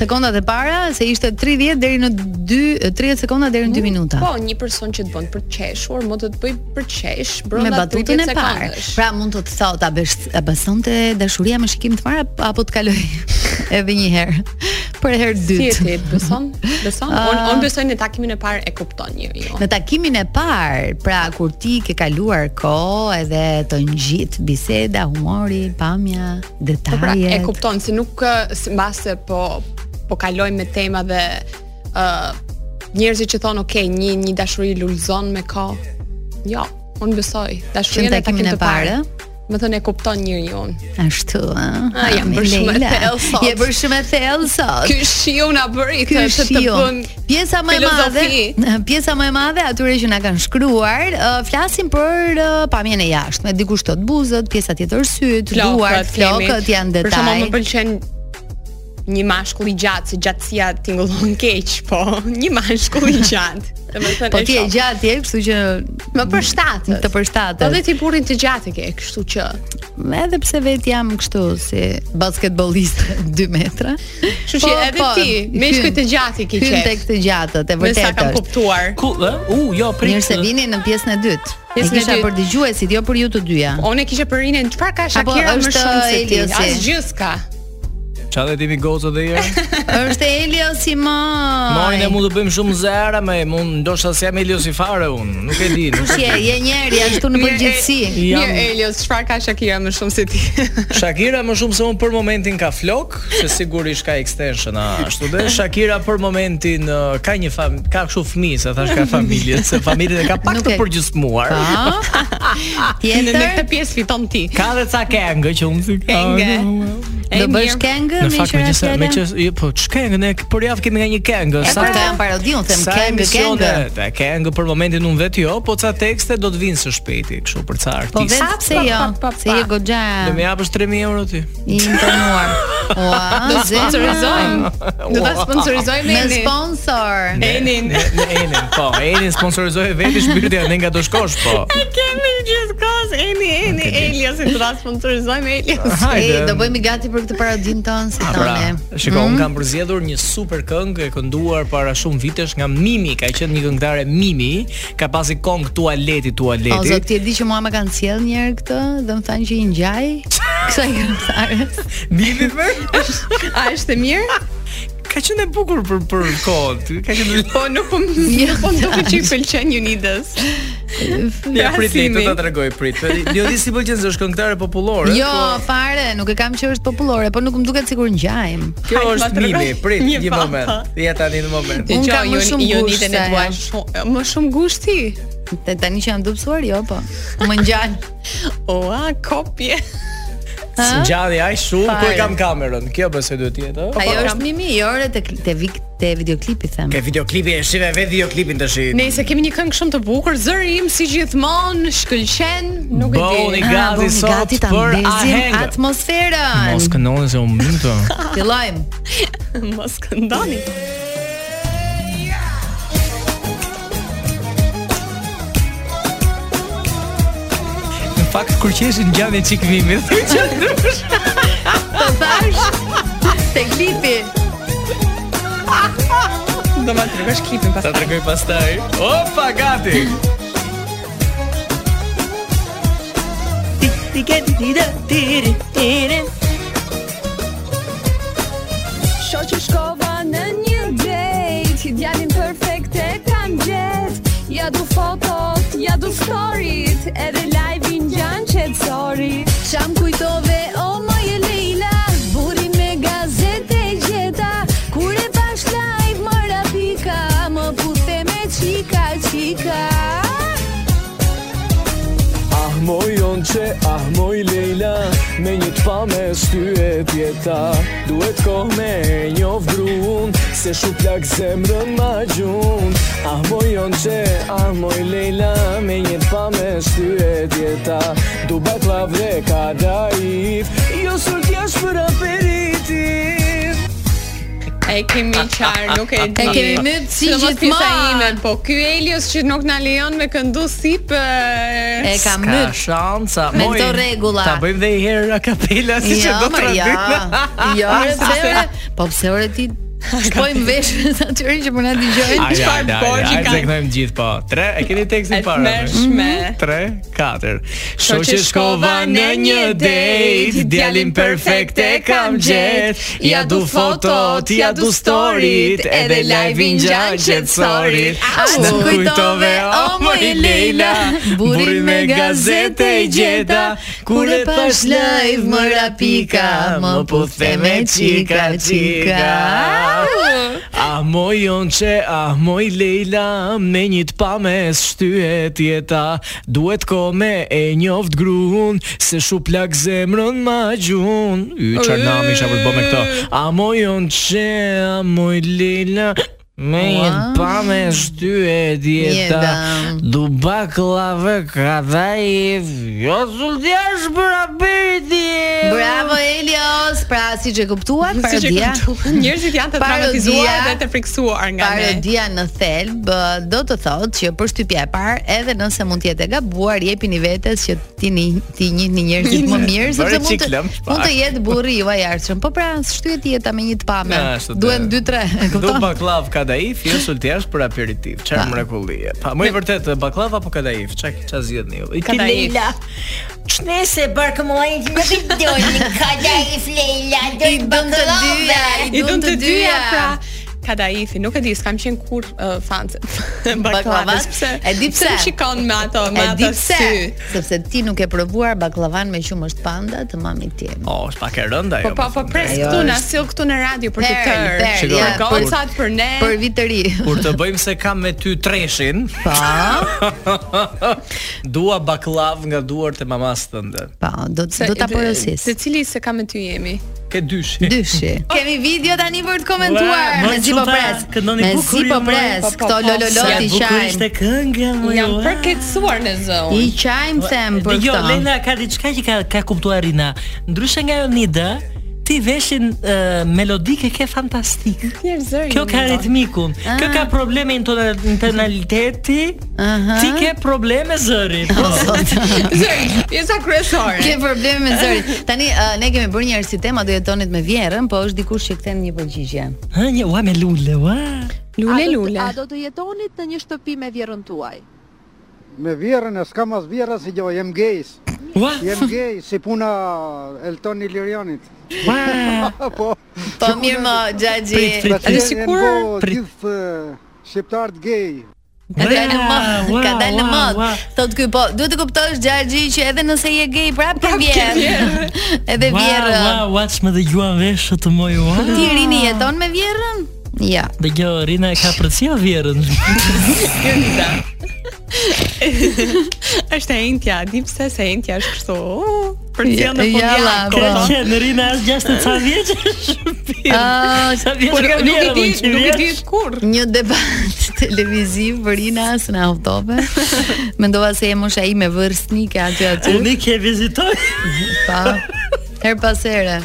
G: sekondat e para se ishte 30 deri në 2 30 sekonda deri në 2 minuta.
H: Po, një person që të bën për të qeshur, më do të bëj për të qesh
G: me
H: brenda
G: batutën
H: 30
G: e parë.
H: sekondësh.
G: Pra mund të të thotë a besh a besonte dashuria me shikim të parë ap- apo të kaloj (laughs) edhe një herë për herë
H: si e
G: dytë.
H: ti, beson?
G: (laughs)
H: Beson?
G: Ah.
H: on, on besoj në takimin e parë e kupton njeriu.
G: Në takimin e parë, pra kur ti ke kaluar kohë edhe të ngjit biseda, humori, pamja,
H: Po
G: detajet.
H: pra, e kupton se nuk ë, se mbase po po kalojmë me tema dhe ë njerëzit që thonë, "Ok, një një dashuri lulzon me kohë." Jo, unë besoj. Dashuria
G: Që në takimin e parë?
H: Më thënë e kupton njeriu.
G: Ashtu, ëh.
H: Ah, jam bërë shumë e
G: Leila,
H: thellë sot.
G: Je bërë shumë e thellë sot.
H: Ky shiu na bëri
G: Ky
H: të të, të
G: shiu.
H: bën
G: Pjesa më e madhe, (laughs)
H: filozofi.
G: pjesa më e madhe atyre që na kanë shkruar, uh, flasin për uh, pamjen e jashtme, dikush thot buzët, pjesa tjetër syt, duart,
H: kemi.
G: flokët janë
H: Për shembull,
G: detaj.
H: më pëlqen një mashkull i gjatë, se gjatësia tingëllon keq, po (laughs) një mashkull i gjatë. Domethënë,
G: Po ti e
H: shoh.
G: gjatë je, kështu që
H: Më përshtatët.
G: Të përshtatët.
H: Po dhe ti burrin të gjatë e ke, kështu që
G: edhe pse vet jam kështu si basketbollist (laughs) 2 metra. Po,
H: Kështu që edhe ti, me shkoj të gjatë i ke
G: Hyn
H: qef.
G: tek të gjatët, e
H: me sa
G: vërtetë
H: kam
G: është.
H: kuptuar.
I: Ku, ë? U, jo, prit.
G: Mirë se vini në pjesën e dytë. E
H: Pjesën e
G: kisha
H: dytë.
G: për dëgjuesit, jo për ju të dyja.
H: (laughs) Unë e kisha për Rinën, çfarë ka
G: Apo
H: Shakira më
G: është
H: shumë se ti?
G: Eliosi?
H: Asgjë s'ka.
C: Qa dhe timi gocë dhe jërë?
G: Është Elio Simon.
C: Mojnë e mund të bëjmë shumë zera me mund ndoshta se jam Elios i fare unë Nuk e di nuk...
G: Kush je? Je njeri ashtu
H: (laughs)
G: në
H: Mirë,
G: përgjithësi.
H: e-
C: (laughs) Jam-
H: Mirë Elios, çfarë ka Shakira më shumë
G: (laughs)
H: se ti?
C: Shakira më shumë se unë për momentin ka flok Se sigurisht ka extension a ashtu dhe Shakira për momentin ë, ka një fam... Ka këshu fmi se thash (laughs) ka familje Se familjen e ka pak
G: Nuk
C: të
G: e-
C: përgjysmuar
H: (laughs) Në në
G: Tjetër
H: këtë pjesë fiton ti.
C: Ka dhe ca kengë që unë thikë
H: Kengë. E
G: do bësh
H: mirë.
G: këngë
C: Në
G: me
C: fakt me
G: qira
C: qëse, me
G: fjala?
C: qëse, jo, po ç'këngë ne për javë kemi nga një këngë.
G: E pra, këto janë parodi, unë them
C: sa
G: këngë,
C: emisione,
G: këngë.
C: Ta këngë për momentin unë vetë jo, po ca tekste do të vinë së shpejti, kështu për ca
G: Po
C: artistë.
G: vetë pse
H: Pa, pa,
G: jo,
H: pa, pa.
G: se je goxha
C: Do më japësh 3000 euro ti.
G: i
C: (laughs)
G: imponuar. Ua,
H: Do
G: zemra.
H: sponsorizojmë. Do ta sponsorizojmë
G: Me
H: Eni.
G: sponsor.
H: Enin.
C: Ne, ne Enin, po, Enin sponsorizoi vetë shpirtin ne nga do shkosh, po.
H: Kemi gjithkohës Eni, Eni, Elios, do ta sponsorizojmë
G: (laughs) Ej,
H: Elios.
G: do Mhm.
C: Hajde.
G: bëjmë gati për këtë parodin tonë si
C: A, Pra,
G: tonë.
C: shiko, unë kam përzjedhur një super këngë e kënduar para shumë vitesh nga Mimi, ka qenë një këngëtare Mimi, ka pasi kong tualeti tualeti.
G: O zot, ti e di që mua më kanë sjell një herë këtë dhe më thanë që i
C: (laughs)
G: ngjaj kësaj këngëtares.
C: Mimi më
H: A është e mirë?
C: ka qenë e bukur për për kohën. ty, Ka qenë
H: Po nuk po
G: Jo,
H: po më duket që i pëlqen Pra, Unidas.
C: Ja prit
H: Krasimi.
C: të ta tregoj prit. Jo di si pëlqen se është këngëtare popullore.
G: Jo, fare, nuk e kam që është popullore, po nuk më duket sikur ngjajm.
C: po kjo
H: hajde, ma
C: është
H: tregoj.
C: mimi, prit
H: Një
C: një
H: papa.
C: moment. Ja tani në moment.
G: Unë
H: Dgjoj,
G: kam më
H: Uni-
G: shumë gusht
H: Uniden e
G: se
H: dua
G: ajo.
H: shumë- më shumë gusht ti.
G: Te tani që jam dupsuar, jo, po. Më
C: (laughs)
G: ngjall.
H: Oa, Po, kopje.
G: Ha?
C: Ngjallë ai shumë ku e
G: Fare.
C: kam kamerën. Kjo besoj duhet të jetë, ë?
G: Ajo është mimi i ore te te vik te videoklipi them.
C: po, Ke videoklipi e shive vetë videoklipin tash.
H: Nëse kemi një këngë shumë të bukur, zëri im si gjithmonë shkëlqen, nuk e
C: Bëhuni
H: di.
G: Ah,
H: (laughs)
C: gati
G: bëhuni
C: sot
G: gati ta
C: për
G: ndezim
C: aheng.
G: atmosferën.
C: Mos kënoni se unë mund të. (laughs)
G: Fillojmë.
H: Mos këndoni.
I: fakt kur qeshin gjallë çik mimit.
G: Të thash Tek lipi
K: Do ma tregosh klipin pas.
I: Ta tregoj pastaj. Opa, gati.
L: Ti ke ti da tiri tiri
K: Shoqë shkova në një date Djalin perfekt e kam gjet Ja du fotot, ja du storit Edhe live-in gjanë qetsori Qam kujtove, o moj e Leila Buri me gazete e gjeta Kur e pash live më rapika Më puthe me qika, qika
I: (laughs) Ah moj onçe, ah moj Leila Me një të pa me shtyë tjeta Duhet kohë me e njof gruun Se shu plak zemrën ma gjun Ah moj onçe, ah moj Leila Me një të pa me shtyë tjeta Du baklav dhe ka daif Jo sër t'jash për aperitif
H: E kemi qarë, nuk e di.
G: E kemi myt si
H: Dhe mos pisa
G: gjithmonë.
H: imen, po ky Elios që nuk na lejon me këndu sip.
G: E
H: E...
G: ka myt
I: shanca
G: Me moj, këto rregulla. ta
I: bëjmë dhe i herë a kapela
G: Jo, mërë, jo
I: (laughs)
G: Jo, re pse ore Po pse ore ti Shpojmë veshën atyre që po përna t'i gjojnë
I: Ajde,
H: Çfarë
I: ajde,
H: borgji
I: ajde, ajde,
H: ka?
I: zeknojmë gjithë po. 3, e keni tekstin
H: E
I: para.
H: mërshme.
G: Mhm.
I: 3, 4. Shoqë shkova në një date, djalin perfekt e kam gjet. Ja du fotot, ja du storit, edhe live-in gjatë qetësorit.
G: Au,
I: Në
G: kujtove, o moj Leila,
I: burin
G: burin me gazete i gjeta, kur e pash live më rapika, më puthe me qika, qika.
I: Ah moj onçe, ah moj Leila Me një të pa me shtyhet jeta Duhet ko me e njoft grun Se shu plak zemrën ma gjun Y, qar nami isha për të bo me këto Ah moj onçe, ah moj Leila Me një të pa me shtyhet jeta
G: Jeta.
I: Du baklave ka dhajif Jo zulltjash për aperitif
G: Bravo Elios, pra siç e kuptuan, parodia.
H: Njerëzit janë të traumatizuar
G: Parodia-
H: dhe të friksuar nga ne.
G: Parodia në thelb ë, do të thotë që përshtypja e parë, edhe nëse mund të jetë e gabuar, jepini vetes që ti ni, ti njihni njerëzit më mirë sepse
I: Bëre
G: mund të
I: ciklëm, shpak.
G: mund të jetë burri juaj i ardhshëm. Po pra, shtyhet jeta me një të pame.
I: Ja, ashtu të-
G: Duhen 2-3, e
I: Do
G: kupton?
I: baklav kadaif, jo sultiash për aperitiv. Çfarë mrekullie. Pa, më i vërtet baklav apo kadaif? Çka ç'a zgjidhni ju? Ti
H: Kadaif.
I: Leila.
M: Çnese barkë më lajnë që më bidoni, ka da i flejla, do
G: I dëm të dyja,
H: I dun të dyja pra Kadaifi, nuk e di, s'kam qenë kur uh, fan (laughs)
G: Baklavas?
H: baklavës, pse?
G: E di pse.
H: Më shikon me ato, me
G: E di
H: ato
G: pse,
H: sy.
G: sepse ti nuk e provuar baklavan me qumësht panda të mamit tim.
I: Oh, është pak e rënda
H: Po
I: ajo.
H: po po pres
G: Ajo
H: këtu na
G: është-
H: sill këtu në radio për të
G: Perl,
H: tërë.
G: perl,
H: Shikoj,
I: ja,
H: për
I: për-
H: gocat për ne.
G: Për vit të ri. (laughs)
I: Kur të bëjmë se kam me ty treshin,
G: Pa,
I: dua baklav nga duart e mamas tënde.
G: pa, Po, do
H: Se-
G: do ta
H: dhe-
G: porosis.
H: Se cili se kam me ty jemi?
I: Ke dyshi.
G: Dyshi. (laughs) Kemi video tani për të komentuar
L: Ua,
G: me
L: moj
G: si po
L: quta,
G: pres.
L: këndoni
G: Me
L: bukur
G: si
L: ju,
G: po
L: moj.
G: pres,
H: Po, po,
G: këto
H: po,
L: Ja
G: lololot i
L: bukur ishte
G: qajm.
L: kënga më
H: Jam
L: ua.
H: përkeqësuar në zonë.
G: I qajm them për
L: Jo,
G: këtë.
L: Lena ka diçka që ka ka kuptuar Rina. Ndryshe nga Jonida, ti veshin uh, melodike ke fantastik.
H: Njerë zëri.
L: Kjo ka ritmikun. Kjo ka probleme intona- intonaliteti.
G: Ah. Aha.
L: Ti ke probleme zërit. Po.
G: (laughs)
H: Zëri, pjesa kryesore.
G: Ke probleme me zërin.
L: (laughs)
G: Tani ë, ne kemi bërë një herë si tema do jetonit me vjerën, po është dikush që kthen një përgjigje.
L: Ha, një ua me lule, ua.
H: Lule lule.
K: do të jetonit në një shtëpi me vjerën tuaj?
N: Me vjerën, e s'kam as vjerën si gjo, jem gejs.
L: Ua, (laughs)
N: Jem gej, si puna Elton Ilirionit.
L: ua.
N: po,
G: Po mirë më Xhaxhi.
L: Prit, prit,
N: atje
L: prit.
N: janë
H: sikur-
N: bo
L: prit.
N: gjithë eh, shqiptarët gej.
G: Ka dalë në mod,
L: Ua,
G: ka dalë në
L: ua,
G: mod.
L: ua.
G: Thot ky po, duhet të kuptosh Xhaxhi që edhe nëse je gay prap ke vjerë.
H: vjerë.
G: (laughs) Edhe vjerë. uh,
L: Ua, ua, ua, çmë dhe gjuan veshë të moj, ua.
G: Ti rini jeton me vjerën? Ja.
L: Dhe gjo, Rina e ka përcia vjerën.
G: (laughs)
H: Gjenda. është e entja, di pse se entja është kështu. oh, Për të në
G: Ja, jalla,
L: Ka
G: Po.
H: fundjak.
L: qenë, Rina është gjashtë të ca vjeqë shpirë.
G: Ah,
L: (laughs) Sa vjeqë
H: Por
L: ka
H: nuk i
L: vjerën,
H: di,
L: që
H: nuk i di
L: vjeç?
H: kur.
G: një debat (laughs) televiziv për Ina së në (laughs) aftove. Mendova se e mosha ime vërstnike aty aty.
L: Unë i ke vizitoj.
G: Pa. Her pas here.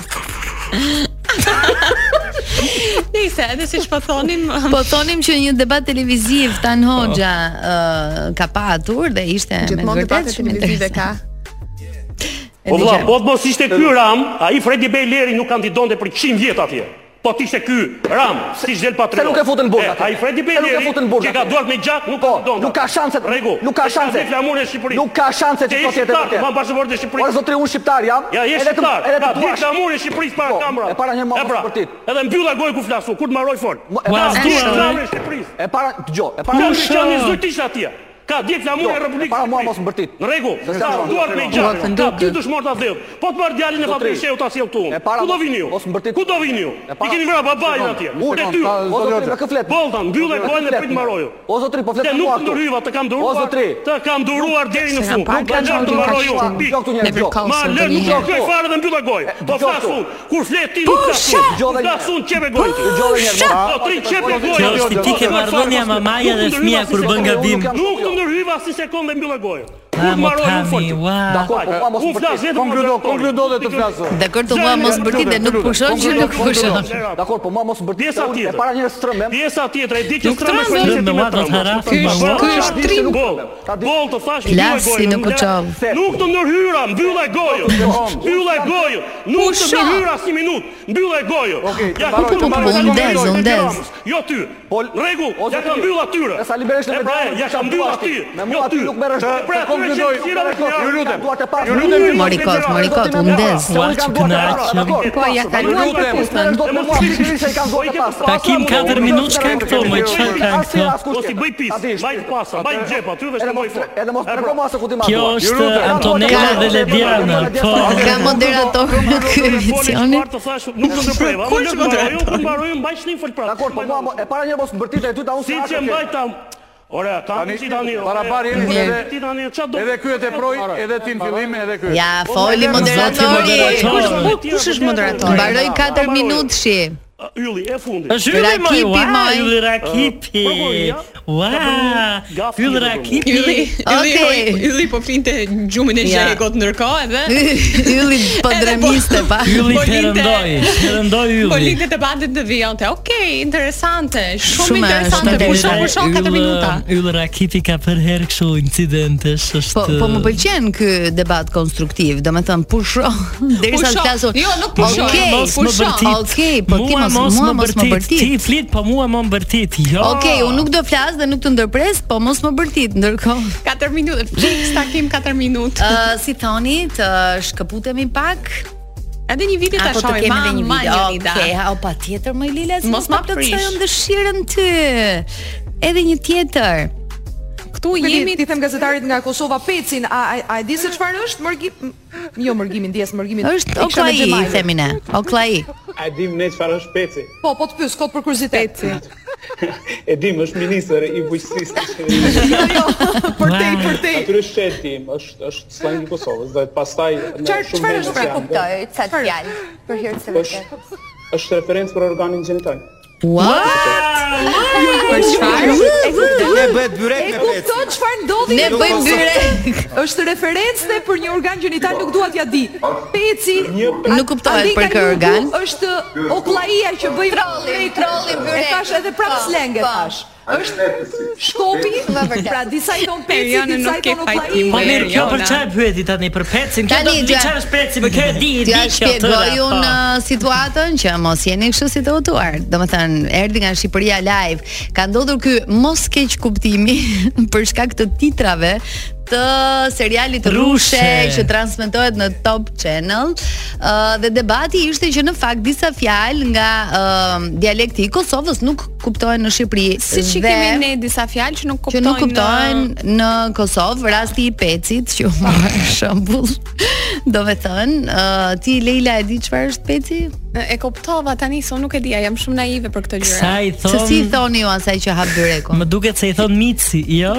H: Nëse edhe siç po thonim, (laughs)
G: Po thonim që një debat televiziv Ah. Tan Hoxha ë, ka patur dhe ishte me
H: gjithmonë të
G: vërtet
H: patë
G: shumë
H: televizive
G: interesant.
H: ka.
G: E
O: Po vlla,
G: dëgjojmë.
O: po të mos ishte ky Ram, ai Fredi Bejleri nuk kandidonte për 100 vjet atje. Po të ishte ky Ram, si del patriot. Eh,
P: Se nuk e futën burg atje.
O: Ai Fredi
P: Se nuk e
O: Bejleri
P: futën burg
O: Që ka
P: atje.
O: duart me gjak, nuk kandidonte.
P: Nuk ka shanse.
O: Rregull.
P: Nuk ka shanse.
O: Flamurën e Shqipërisë.
P: Nuk ka shanse
O: Që
P: që
O: je
P: sot jetë
O: shqiptar,
P: vërtet.
O: ma pasaportë e Shqipërisë.
P: Por zotri unë shqiptar jam.
O: Ja, je
P: edhe të-
O: shqiptar.
P: Edhe të
O: Ka
P: duash.
O: ditë flamurën e Shqipërisë para
P: Po,
O: kamerave.
P: E para një
O: E
P: mama
O: pra,
P: sportit.
O: Edhe mbylla gojë ku flasu, kur të mbaroj fort.
P: e para-
O: Ka
P: e
O: ditë
P: para-
O: flamurën e Shqipërisë.
P: E para dëgjoj, e para
O: Ka ditë flamurën zyrtisht atje. Ka ditë flamurën e Republikës.
P: Para Jo, mua mos mbërtit.
O: Në rregull,
P: Se
O: ka
P: s'ka rregull,
O: duart me
P: s'ka
O: gjak.
P: rregull.
O: Ka dy dëshmor ta vdell. Po të marr djalin e
P: Zotri.
O: fabrikës sheu ta sjell këtu.
P: para-
O: Ku do vini ju? Ku do vini ju?
P: E
O: I
P: para-
O: keni vrarë babain
P: Sekond,
O: atje.
P: u,
O: Te
P: sekond,
O: ty.
P: ta- O, zotri, me kë flet?
O: Bolta, mbyllë
P: Me kë
O: gojën e
P: flet?
O: prit maroju.
P: O zotri, po flet
O: Te
P: me
O: nuk
P: mua
O: të
P: këtu.
O: ndryva, të kam
P: O
O: duruar.
P: zotri.
O: Të kam duruar deri në
P: Se
O: fund.
P: kam parë
O: Ka
P: kanë
O: gjak
P: qenë
O: të mbaroj
P: gjithashtu.
O: unë.
P: Dëgjoj këtu njerëz, dëgjoj.
O: Ma
P: Dëgjoj
O: lë nuk
P: këtu.
O: shkoj fare dhe mbyllë gojë. Po
P: Dëgjoj
O: flas
P: këtu.
O: unë. Kur flet ti
P: Po,
O: nuk flas
P: shë!
O: unë.
P: Dëgjoj dhe
O: Flas
P: njerëz.
O: unë qepe gojë. ti.
P: Dëgjoj dhe njerëz.
O: Po tri qepe
P: Dëgjoj
O: gojë.
P: dhe njerëz. Është ti
O: jo,
P: ke marrëdhënia
I: mamaja dhe fëmia kur bën gabim.
O: Nuk të ndërhyva as një sekondë mbyllë gojë.
I: Ah,
O: Nuk
I: mo,
O: mbaroj unë
I: Tami,
O: fort.
I: ua.
P: Dakor, po mua mos
O: Unë flas
P: mbërtit.
O: vetëm për doktorin.
G: Dakor, të mua mos mbërtit dhe nuk
O: Po
G: pushon që nuk pushon.
P: Dakor, po mua mos mbërtit.
O: Pjesa
P: unë E
O: tjetër.
P: para njerëz trëmbem.
O: Pjesa tjetër e di që
P: Nuk
O: strëmë
P: trëmbem,
O: për 20
P: trëmbem,
O: centimetra.
P: do të haraf,
O: Ky është-
P: ballon.
O: ky është
P: Ka
O: trim.
P: ditë
O: Boll. Boll të thash mbylla
G: Flas si
O: gojën,
G: në
O: nuk
G: Koçov.
O: le- Nuk të ndërhyra, mbylla gojën. Mbylla gojën. Nuk të ndërhyra as një minutë. Mbylla gojën. Ja
P: mbaroj,
O: ku
P: po,
O: mbaroj,
P: po,
O: ja
P: unë
O: mbaroj,
P: ndez,
O: ja
P: unë
O: mbaroj.
P: ndez.
O: Jo ty. Në rregull, ja ka mbyll atyre.
P: E sa liberesh në
O: E pra,
P: medalje,
O: ja ka mbyll aty.
P: Me mua aty nuk merresh.
O: Të- pra, atyre që thira me kënjarë,
P: Ju lutem.
O: ka duart e pasura.
P: Ju lutem.
O: Mori
P: Mori
O: kot, mori kot, unë ndez.
P: Se unë kam duart e pasura, dakor,
G: Po, ja
P: pasur,
G: kaluan
P: ju lutem.
G: Pakistan.
P: Do të më mua sigurisht se i kam duart e pasura.
I: Takim 4 minutë shkak këto, më çfarë kanë këto?
O: Po si bëj pis, baj pasa, baj në xhep aty dhe shkoj fort.
P: Edhe mos më mos se ku ti ma.
I: Kjo është Antonella dhe Lediana, po.
G: Ka moderator në ky emisioni.
O: Çfarë të thash, nuk do të preva.
P: Ku
O: Ku
P: është
O: është
P: moderator?
O: moderator? Ku mbaroj, mbaj shnim fol pra.
P: Dakor, po mua mo- e para njerëz mos mbërtit e ty ta unë.
O: Si që mbaj ta Ora, tani ti tani.
Q: Barabar jeni
O: ore,
Q: edhe-
O: ti tani çfarë do?
Q: Edhe ky e teproj, edhe ti në fillim, edhe ky.
G: Ja, foli moderatori.
H: Kush është moderatori?
G: Mbaroj 4 minutë shi.
O: Ylli e fundit.
I: Është Ylli më
G: Rakipi,
I: ua,
G: moj.
I: Ylli Rakipi.
O: Prokuroria,
I: Ua,
O: gafë
I: Ylli
O: i
I: Rakipi.
H: Ylli,
G: Okej.
H: Ylli, Ylli po flinte gjumin e
G: Ja.
H: Shekut ndërkohë edhe
G: (laughs) Ylli po
H: Edhe
G: dremiste (laughs) pa.
I: Ylli
H: Po linte-
I: perëndoi, perëndoi
H: Po
I: Ylli.
H: linte të bandit të vionte. Okej, interesante, shumë,
G: Shumë
H: interesante.
G: është,
H: Pushon,
G: vërtet.
H: pushon 4 minuta.
I: Ylli Rakipi ka për herë kështu incidentesh, është
G: Po po më pëlqen ky debat konstruktiv, domethënë pusho (laughs) derisa të
H: Pusho.
G: flasun.
H: Jo, nuk pusho,
G: Okej,
I: mos më bërtit.
G: Okej, po ti mos mua mos më bërtit.
I: Ti flit, po mua më bërtit. Jo.
G: Okej, unë nuk do flas dhe nuk të ndërpres, po mos më bërtit
H: (laughs)
G: ndërkohë.
H: 4 minuta, fix takim 4
G: (laughs)
H: minutë.
G: Ë, si thoni, të shkëputemi pak.
H: Edhe një video ta
G: Apo po të
H: shohim.
G: kemi edhe një
H: ma,
G: video.
H: ma, Jonida.
G: Okej, ha, o pa tjetër më Lila, si mos
H: Mos
G: ma
H: ma prish.
G: plotësojmë dëshirën ty. Edhe një tjetër.
H: Këtu jemi
M: ti them gazetarit nga Kosova Pecin, a a, a e di se çfarë është? Mërgim jo mërgimin dijes, mërgimin.
G: Është
M: e kisha me
G: Oklai,
M: Xhemailin.
G: themi ne. Oklai.
R: A e dim ne çfarë është Peci?
M: Po, po të pyes, kot për kuriozitet.
R: E dim është ministër i bujqësisë.
M: (laughs) Jo, Për te, për te.
R: Atyre është tim, është është slang i Kosovës dhe pastaj
M: Çfarë çfarë është pra kuptoj,
S: ca fjalë. Për hir të
R: Është është referencë për organin gjinital.
G: Ua!
M: Për çfarë? E kuptoj.
T: Ne bëhet byrek
M: E
T: me Peci.
M: kupton çfarë ndodhi?
G: Ne
M: në
G: bëjmë
M: Kosovë.
G: byrek.
M: Është referencë për një organ gjinital nuk dua t'ja di. Peci
G: Nuk kuptohet
M: Andika
G: për kë
M: Lugu
G: organ.
M: Është oklaia që bëj
S: Trolli, trolli, byrek.
M: E thash edhe prap
S: Po,
M: slenget
S: po.
M: thash. Është Shkopi,
S: Va vërtet.
M: pra disa i thon peci,
H: Periona
M: disa
H: nuk
M: i
H: e
M: thon oklai.
H: fajtim.
I: Po mirë, kjo për
H: Jona.
I: çfarë pyeti tani për pecin? Kjo
G: Tani,
I: do të di
G: Gja-
I: çfarë është peci, më kjo e di, e di
G: T'ja
I: kjo
G: shpjegoj
H: po.
G: unë uh, situatën që mos jeni kështu si të hutuar. Domethënë, erdhi nga Shqipëria live. Ka ndodhur ky mos keq kuptimi (laughs) për shkak të titrave të serialit
I: Rushe.
G: Rushe që transmetohet në Top Channel. Uh, dhe debati ishte që në fakt disa fjalë nga uh, dialekti i Kosovës nuk kuptohen në Shqipëri.
H: Si që
G: dhe-
H: kemi ne disa fjalë që nuk
G: që
H: kuptojnë.
G: nuk kuptojnë në Kosovë rasti i pecit që u mor shembull. Do me thënë, ë, ti Leila e di çfarë është peci?
H: E kuptova tani, se unë nuk e dija, jam shumë naive për këtë gjëra.
I: Sa i thon?
G: uh, Se si i thoni ju asaj që hap byrekun?
I: Më duket se i thon mici,
G: (laughs)
I: jo?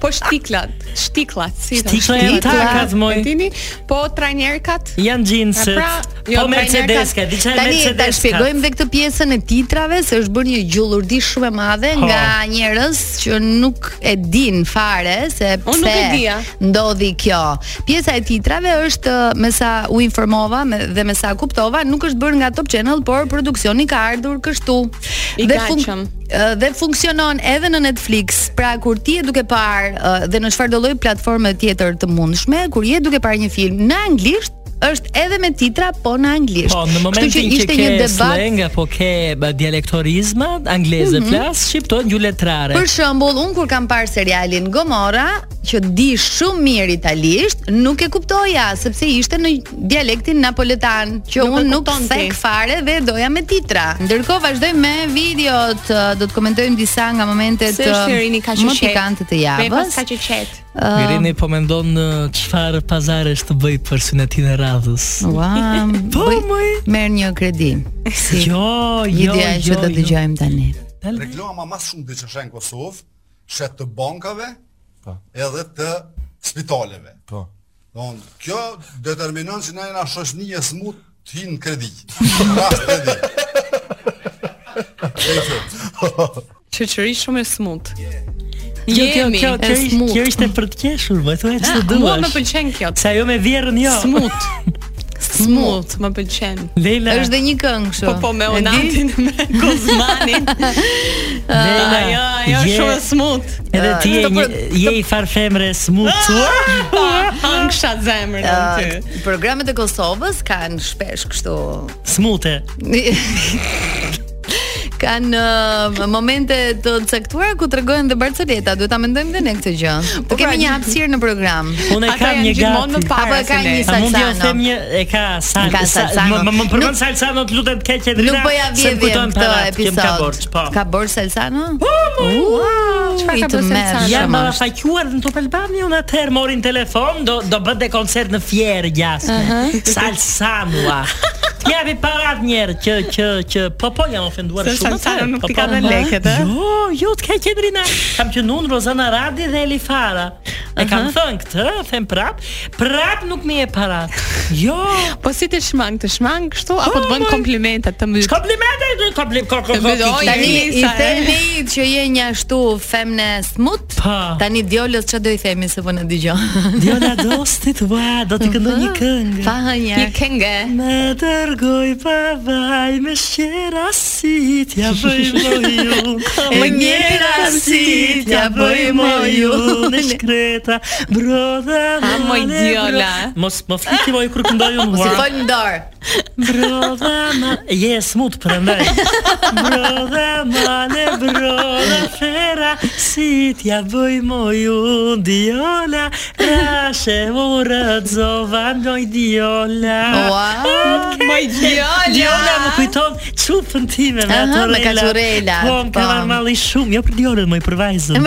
H: Po shtiklat, shtiklat, si i thon?
I: Shtikla janë takat, moj.
H: E dini? Po trajnerkat?
I: Janë
H: E
I: gjinset.
H: Pra,
G: Jo,
I: Po Mercedes-ka,
G: trajner ka-
I: diçka e
G: Tani ta
I: Mercedes-ka.
G: shpjegojmë dhe këtë pjesën e titrave se është bërë një gjullurdi shumë e madhe
I: Po.
G: nga njerëz që nuk e din fare se
H: Unë nuk e dija.
G: ndodhi kjo. Pjesa e titrave është ë, me sa u informova me, dhe me sa kuptova, nuk është bërë nga Top Channel, por produksioni ka ardhur kështu.
H: I
G: Dhe fun-
H: gatshëm.
G: ë, dhe funksionon edhe në Netflix. Pra kur ti je duke parë ë, dhe në çfarë do lloj platforme tjetër të mundshme, kur je duke parë një film në anglisht, është edhe me titra po në anglisht.
I: Po, në
G: Kështu
I: momentin që,
G: ishte
I: ke
G: një debat
I: slang apo ke ba, dialektorizma, angleze
G: Mhm.
I: flas, shqiptojnë gjuletrare.
G: Për shembull, un kur kam parë serialin Gomorra, që di shumë mirë italisht, nuk e kuptoja sepse ishte në dialektin napoletan, që
H: Nuk e
G: un nuk
H: kupton ti.
G: thek fare dhe doja me titra. Ndërkohë vazhdoj me videot, ë, do të komentojmë disa nga momentet
H: Se është
G: ë,
H: Irini kaq
G: më pikante të
H: Pepas
G: javës.
H: kaq i qetë.
G: Ë,
I: Irini po mendon në çfarë pazaresh të bëj për synetin e radhës.
H: (laughs)
G: Ua, po merr një kredi. Si
I: jo,
T: jo,
G: Ideja
T: jo,
G: që do
T: jo.
G: dëgjojmë tani.
T: Reklama më shumë dyqeshe në Kosovë, që të bankave
Q: Po.
T: edhe të spitaleve. Po. Don, kjo determinon që na jena shoshni e smut të hinë në kredi. Rast kredi.
H: Qëçëri shumë e smut.
I: Kjo kjo
H: Jemi
I: Jo, kjo kjo,
H: e
I: ish-
H: smut.
I: kjo ishte për të qeshur, më thuaj ç'të
H: Ah,
I: duash.
H: Mua më pëlqen kjo.
I: Se ajo me vjerrën jo.
H: Smut. Smut, më pëlqen.
I: Leila.
G: Është dhe një këngë kështu.
H: Po po me
G: E di?
H: Onatin, me
G: (laughs)
H: Guzmanin.
G: Ah.
I: Leila,
H: ajo, ajo
I: je-
H: Jo, shumë e smut.
I: Edhe ti
G: po-
I: je një, je i farë femre smut.
G: Ah!
H: Pa, hangsha zemrën aty.
G: Ë, Programet e Kosovës kanë shpesh kështu
I: Smute.
G: kanë ë, momente të caktuara ku tregojnë dhe Barceleta, duhet ta mendojmë dhe ne këtë gjë. Të kemi një hapësirë në program.
I: Unë e kam një gati.
G: Apo e ka një
I: A mund t'ju them
G: salsano.
I: një e ka sal.
G: Ka
I: sa-
G: salsano.
I: Më më- më përmend
G: Nuk-
I: salsano të lutem të keq Edrina.
G: Nuk po ja
I: se më
G: vjedhim
I: kujtojnë
G: këtë
I: parat, kem
G: episod.
I: Ka borx, po.
G: Ka borx salsano? Po,
I: Çfarë
G: ka bërë Salsano?
I: Jam faquar në Top Albani unë atëherë morin telefon, do do bën dhe koncert në Fierë gjasme. Salsanua. Ti japi parat njerë që që që po po jam ofenduar
H: Se
I: shumë.
H: Salsano
I: atëherë,
H: nuk
I: po,
H: t'i
I: po.
H: ka dhënë lekët, ë?
I: Jo, jo, t'ka qendrina. Kam qenë unë Rozana Radi dhe Eli Fara. E kam
H: Aha.
I: thënë këtë, them prap, prap nuk mi e parat. Jo.
H: Po si të shmang, të shmang kështu apo të bën komplimente të mbyt.
I: Komplimente, komplimente,
H: Po,
G: Tani i themi që je një ashtu femne smut. Tani djolës çfarë do i themi se po na dëgjon.
I: (laughs) Djola dostit, ua, do t'i këndoj një këngë.
G: Pa hënjer. Një
H: këngë.
I: Me dërgoj pa vaj me shqera si t'ja bëj më ju.
G: E
I: E njera
G: njëra
I: si t'ja bëj më ju. Në shkreta, broda,
H: A, moj
I: male,
H: djola.
I: bro- Mos më fliti moj kur këndoj unë.
G: Mos i
I: ua.
G: fol në dorë.
I: Broda, ma... Je smut prandaj. Broda, male, broda, fera, si t'ja bëj më ju. Djola, rashe u rëdzova, moj djola.
G: Ua,
H: moj
G: djola.
I: Djola Ah, më kujton çupën time me
G: Aha,
I: ato
G: me kaçurela,
I: Po, më ka
G: po.
I: marrë malli shumë, jo për djolën, më i për vajzën.
G: E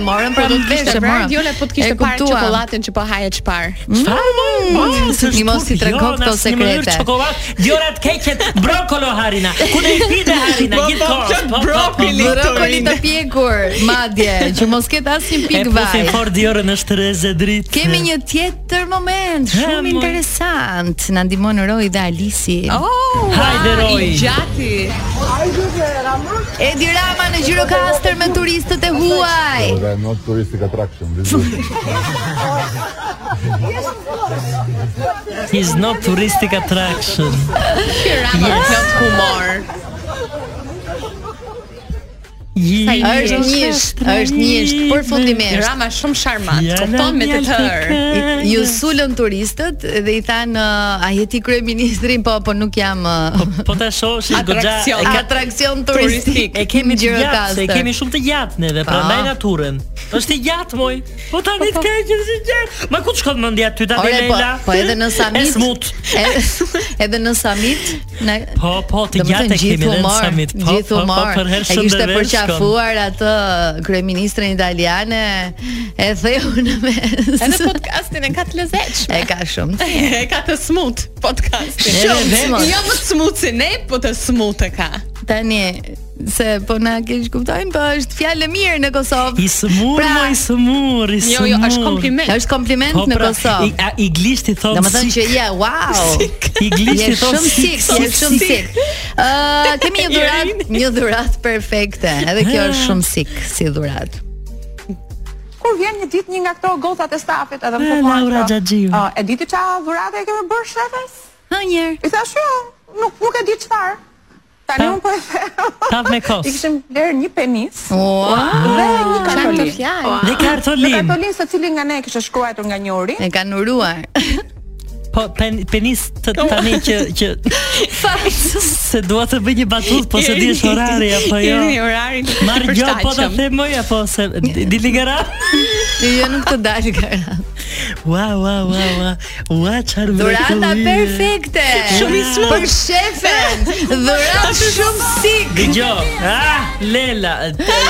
G: (laughs) morën
H: Po
G: pra
H: do
G: në
H: të kishte
G: veshë,
H: parë
G: morën.
H: djole, po të kishte
G: E
H: parë
G: kuptuam.
H: çokoladën që po haje çfarë.
I: Çfarë më?
G: Mm, se ti mos i trego këto sekrete.
I: Djora të keqet brokolo harina. Ku
G: (laughs)
I: ne i pide harina
G: Po,
I: gjithë
G: po,
I: kohë.
G: po,
I: po,
G: Brokoli të pjekur, madje, që mos ketë asnjë
I: E po
G: pikë vaj.
I: pusin fort djorën është reze dritë.
G: Kemi një tjetër moment
I: Ha,
G: shumë
I: moj.
G: interesant. Na ndihmon Roy dhe Alisi.
H: Oh,
I: Hajde,
G: wow,
I: Roy.
G: i Gjati. Edi Rama në Gjirokastër me turistët e huaj.
U: They're not touristic attraction. This is
I: He's not touristic attraction.
H: Pirama
I: Yes.
H: plot humor.
G: Është njësht, është njësht, përfundimisht.
H: Rama shumë sharmant,
G: Jana
H: kupton me të tërë.
G: I- Ju sulën turistët dhe i thanë "Ë, a jeti kryeministrin po po nuk jam po,
I: Po ta shohësh goxha.
G: atraksion, (laughs) atraksion turistik.
I: E kemi të gjatë, se
G: Gjirokastër.
I: e kemi shumë të gjatë neve, prandaj
G: Ah.
I: naturën. Është i gjatë moj. Po tani të keq është i gjatë. Ma ku të shkon mendja ty tani
G: Ore, po,
I: Leila?
G: po edhe në
I: E
G: summit.
I: smut.
G: e- (laughs) edhe në summit, na
I: Po, po, të
G: Do më
I: gjatë
G: thënë
I: e kemi
G: gjithë
I: edhe në
G: humor,
I: summit. Po,
G: gjithë
I: po, po,
G: humor.
I: për herë
G: E
I: shumë
G: kishte
I: dërvesh shkon.
G: përqafuar atë kryeministrin italiane e theu në mes.
H: Edhe po- podcastin e ka të lezetshme.
G: E ka shumë të
H: E ka të smut podcastin.
G: Shumë Edhe smut.
H: Jo më të smut si ne, po të smut e ka.
G: Tani se po na keq kuptojnë, po është fjalë e mirë në Kosovë.
I: I smur, pra, mo, i smur, i smur. Po,
G: Jo, jo, është kompliment. Është kompliment në
I: pra, I,
G: Kosovë.
I: a, i glishti thon.
G: Domethënë që je
I: (laughs)
G: wow.
I: I glishti thon.
G: Shumë sik, je shumë sik. Ë, kemi
I: (laughs)
G: një dhurat, një dhurat perfekte. Edhe
I: Ah.
G: kjo është shumë sik si dhurat.
V: Kur vjen një ditë një nga këto gocat e stafit, edhe më
I: E,
V: thonë,
I: Laura Xhaxhiu.
V: "Ah, e diti çfarë dhurate e kemi bërë shefes?"
G: Ha njerë.
V: I thash, "Jo, nuk nuk e di çfarë." Tani unë po e them.
I: Tav me kos.
V: (laughs) I kishim bler një penis
G: Wow.
V: dhe një
G: Çfarë
V: kartolin.
G: të fjalë. Dhe
I: kartolin.
V: Dhe kartolin secili nga ne kishte shkruar nga njëri.
G: E kanë uruar. (laughs)
I: Po pen, penis të tani që që
V: (laughs)
I: se dua të bëj një batut, po se dish orari apo jo.
H: Jeni orarin.
I: Marr
H: të
I: jo po ta
H: përshtatshëm.
I: them moj apo se dili gara?
G: Jo nuk të dalë (laughs) gara.
I: Ua ua ua ua. Ua çfarë
G: Dhurata
I: mrekullie.
G: perfekte.
I: Shumë i smurt.
G: Për shefen. Dhuratë shumë sik.
I: Dëgjoj. Ah, Lela. të-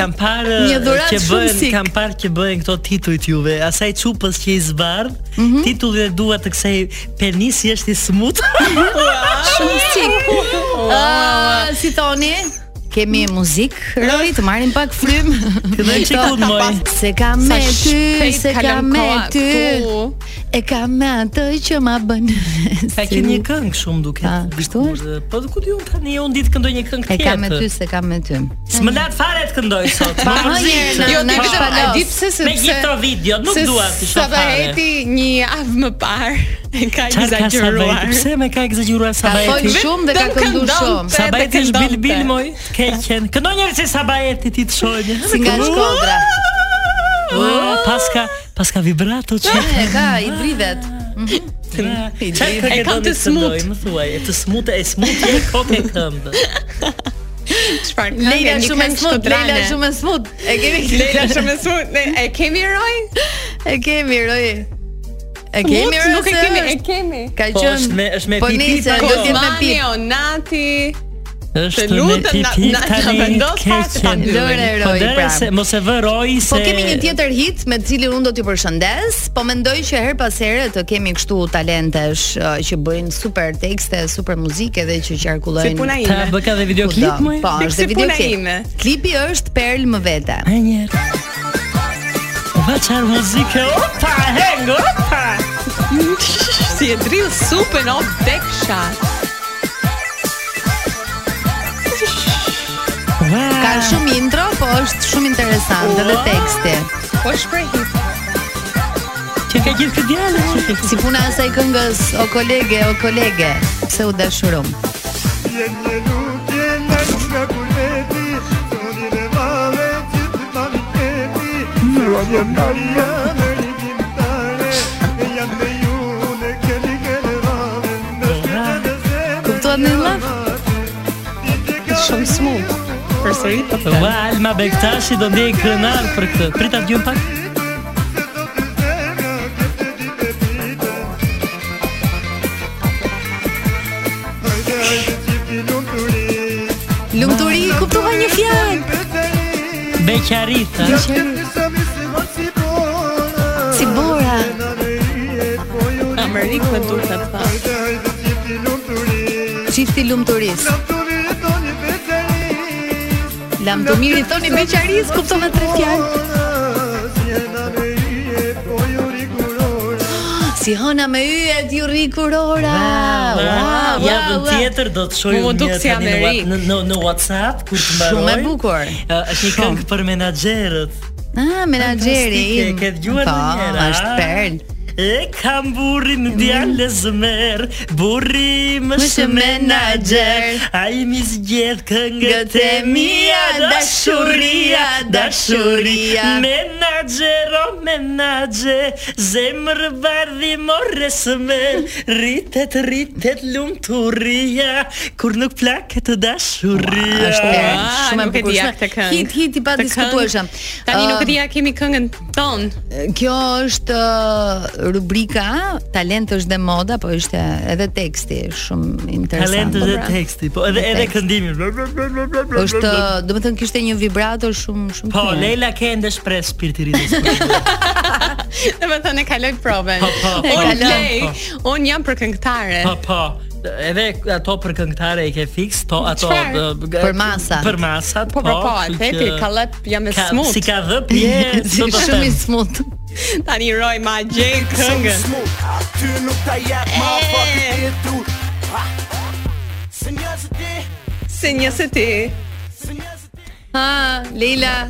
I: Kam parë
G: Një dhuratë
I: që
G: shumë
I: bëhen,
G: sik.
I: kam parë që bëhen këto titujt juve. Asaj çupës që i zbardh,
G: Mhm.
I: titulli e dua të kësaj penisi është i smut.
G: (laughs) Shumë sik. Ë, si thoni? Kemi muzik, Rori, të marrim pak frym.
I: Fillojnë qikun, moj.
G: Se kam
H: Sa
G: me ty,
H: shpejt
G: se
H: kalon
G: kam me
H: koha
G: ty.
H: këtu.
G: E kam me atë që ma bën.
I: Ka
G: si-
I: qenë një këngë shumë duket. Kështu është. Po ku diun tani unë ditë këndoj një këngë
G: E
I: tjetër.
G: kam me ty, se kam me ty.
I: S'më lat fare të këndoj sot.
G: (laughs) Pa,
I: më mërzit.
G: hajde, na- Jo, na ti vetëm- shpalos.
H: e di pse se
I: Me gjithë video, nuk dua të shoh fare.
H: Sabaheti një javë më parë e ka
I: Çfarë ka
H: egzageruar.
I: Sabajti? Pse me ka egzageruar
G: Ka
I: Sabajti?
G: folë shumë dhe ka
H: Vetëm
G: këndu
H: këndonte,
G: shumë.
I: Sabajti
H: dhe
I: është
H: këndonte.
I: bilbil moj, keqen. Këndon njerëz si Sabajti ti të shohë.
G: Si nga Shkodra.
I: Ua, Paska, paska vibrato që.
G: E ka i drivet.
I: Çfarë këngë
H: E kam
I: doni
H: të smut.
I: këndoj, Më thuaj, e të smut, e smut e kokë e këmbë.
H: Çfarë?
G: Leila shumë e smut, Leila shumë e smut. E kemi
H: Leila shumë e smut. Ne e kemi roj?
G: E kemi roj. E kemi
H: Smut,
G: roj.
H: Nuk e
G: se
H: kemi, e
G: është.
H: kemi.
G: Ka
I: Po,
G: qenë.
I: është me është me
G: Po
I: pipi.
G: nice,
I: pa-
G: do t'jetë me
H: Mani,
G: pip.
H: Onati.
I: Është
H: Të
I: me
H: lutem, na-
I: pipi
H: na- na
I: tani.
H: vendos fare se ta
I: keqen.
H: mbyllin.
G: Lore,
I: Po
G: Roy,
I: dere
G: prap.
I: se mos e vë roj se
G: Po kemi një tjetër hit me cilin unë do t'ju përshëndes, po mendoj që her pas here të kemi kështu talentesh ë, që bëjnë super tekste, super muzikë dhe që qarkullojnë.
H: Si puna
I: Ta
H: ime.
I: bë ka dhe
G: Kudo.
I: videoklip më?
G: Po,
H: Si-
G: është
H: si
G: dhe
H: puna
G: videoklip.
H: ime.
G: Klipi është Perl më vete.
I: E njerë Ua qarë muzikë Opa, heng, opa
H: Si e drill supën o beksha.
G: Ka shumë intro, po është shumë interesante dhe teksti.
H: Po shprej hip.
I: Që ka gjithë këtë djallë
G: Si puna e asaj këngës O kolege, o kolege, pse u dashurum. Kuptuat në laf?
H: Shumë smut. Përsëri po të
I: Ua, Alma Bektashi do ndjej krenar për këtë Prita t'gjën pak
G: Lumturi, kuptova një fjalë.
I: Beqarita
G: Si bora.
O: Ah,
H: Amerik me durta të pa.
G: Çifti lumturis. Lam të miri thoni beqaris, kuptova tre fjalë. Si hëna me yjet ju rri kurora. Wow,
I: Javën tjetër do të shoj
H: Mu
I: unë
H: duk
I: një
H: si
I: tani në
H: Amerik.
I: wa- në, në, në WhatsApp kur të mbaroj.
G: Shumë e bukur.
I: Ë, është një këngë për menaxherët.
G: Ah, menaxheri
I: Fantastike,
G: im.
I: e ke dëgjuar
G: Po,
I: ndonjëherë?
G: Është
I: a?
G: perl. Mm.
I: E kam burrin djalë zmer, burri më
G: Më
I: shë
G: shë
I: menaxher. Ai mi zgjedh këngët e mia, dashuria, dashuria. Menaxher, o menaxhe, zemër bardhi morre smer, ritet, ritet lumturia, kur nuk plaket dashuria.
G: Është perl.
H: Ah,
G: Shumë e
H: nuk e
G: bukur.
H: dija
G: shumë-
H: këtë këngë.
G: Hit hit i pa
H: Këtë
G: diskutueshëm. Ah.
H: këngë, Tani nuk
G: Ë,
H: e di a kemi këngën ton. (laughs)
G: Kjo është ë, rubrika Talentësh dhe moda, po ishte edhe teksti shumë interesant.
I: Talentët
G: po
I: dhe
G: pra.
I: teksti, po edhe
G: Dhe
I: edhe
G: tekst.
I: këndimi.
G: Është, ë, domethënë kishte një vibrato shumë shumë
I: Po,
G: të mirë.
I: Leila ke ende shpresë spirit i ri.
H: Domethënë e kaloj provën.
I: Po, po, po,
H: Unë
I: po.
H: play, unë jam për këngëtare.
I: Po, po. edhe ato për këngëtare i ke fiks, to ato
H: Çfarë?
I: dë-
H: Për masat.
I: Për masat,
H: Po po po,
I: kështu
H: Pepi
I: që-
H: kallep jam e
I: Ka-
H: smut.
I: si ka dhëp, je, do të them.
G: (laughs)
H: smut. Tani roj ma gjej këngën.
W: Aty nuk ta jep ma
H: Eh.
W: fucking tjetru Ha. Se njerëzit e
H: Se një se ti. Ha, Leila.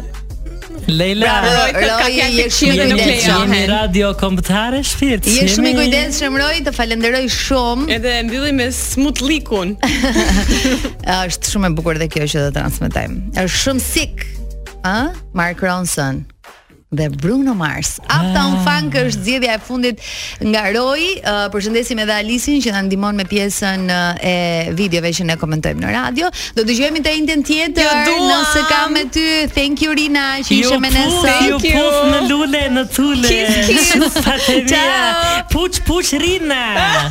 I: Leila.
H: Bravo, Roy, thotë ka
G: Roy,
H: qenë
G: je
H: fiksion
G: shumë
H: dhe
G: i
H: nuk lejohen.
I: Jemi radio kombëtare shpirt.
G: Je shumë i kujdesshëm Roy, të falenderoj shumë.
H: Edhe mbyllim me smutlikun.
G: Është shumë e bukur dhe kjo që do transmetojmë. Është shumë sik, ë? Mark Ronson dhe Bruno Mars. Uptown Funk është zgjedhja e fundit nga Roy. Uh, përshëndesim edhe Alisin që na ndihmon me pjesën uh, e videove që ne komentojmë në radio. Do dëgjojmë të njëjtën tjetër
H: Jo, duam!
G: nëse ka me ty. Thank you Rina që
I: Ju
G: ishe me ne
I: puf,
G: sot.
I: ju puf në lule, në tule. (laughs)
G: Kiss, kiss.
I: Fatemia.
G: Ciao.
I: Puç puç Rina.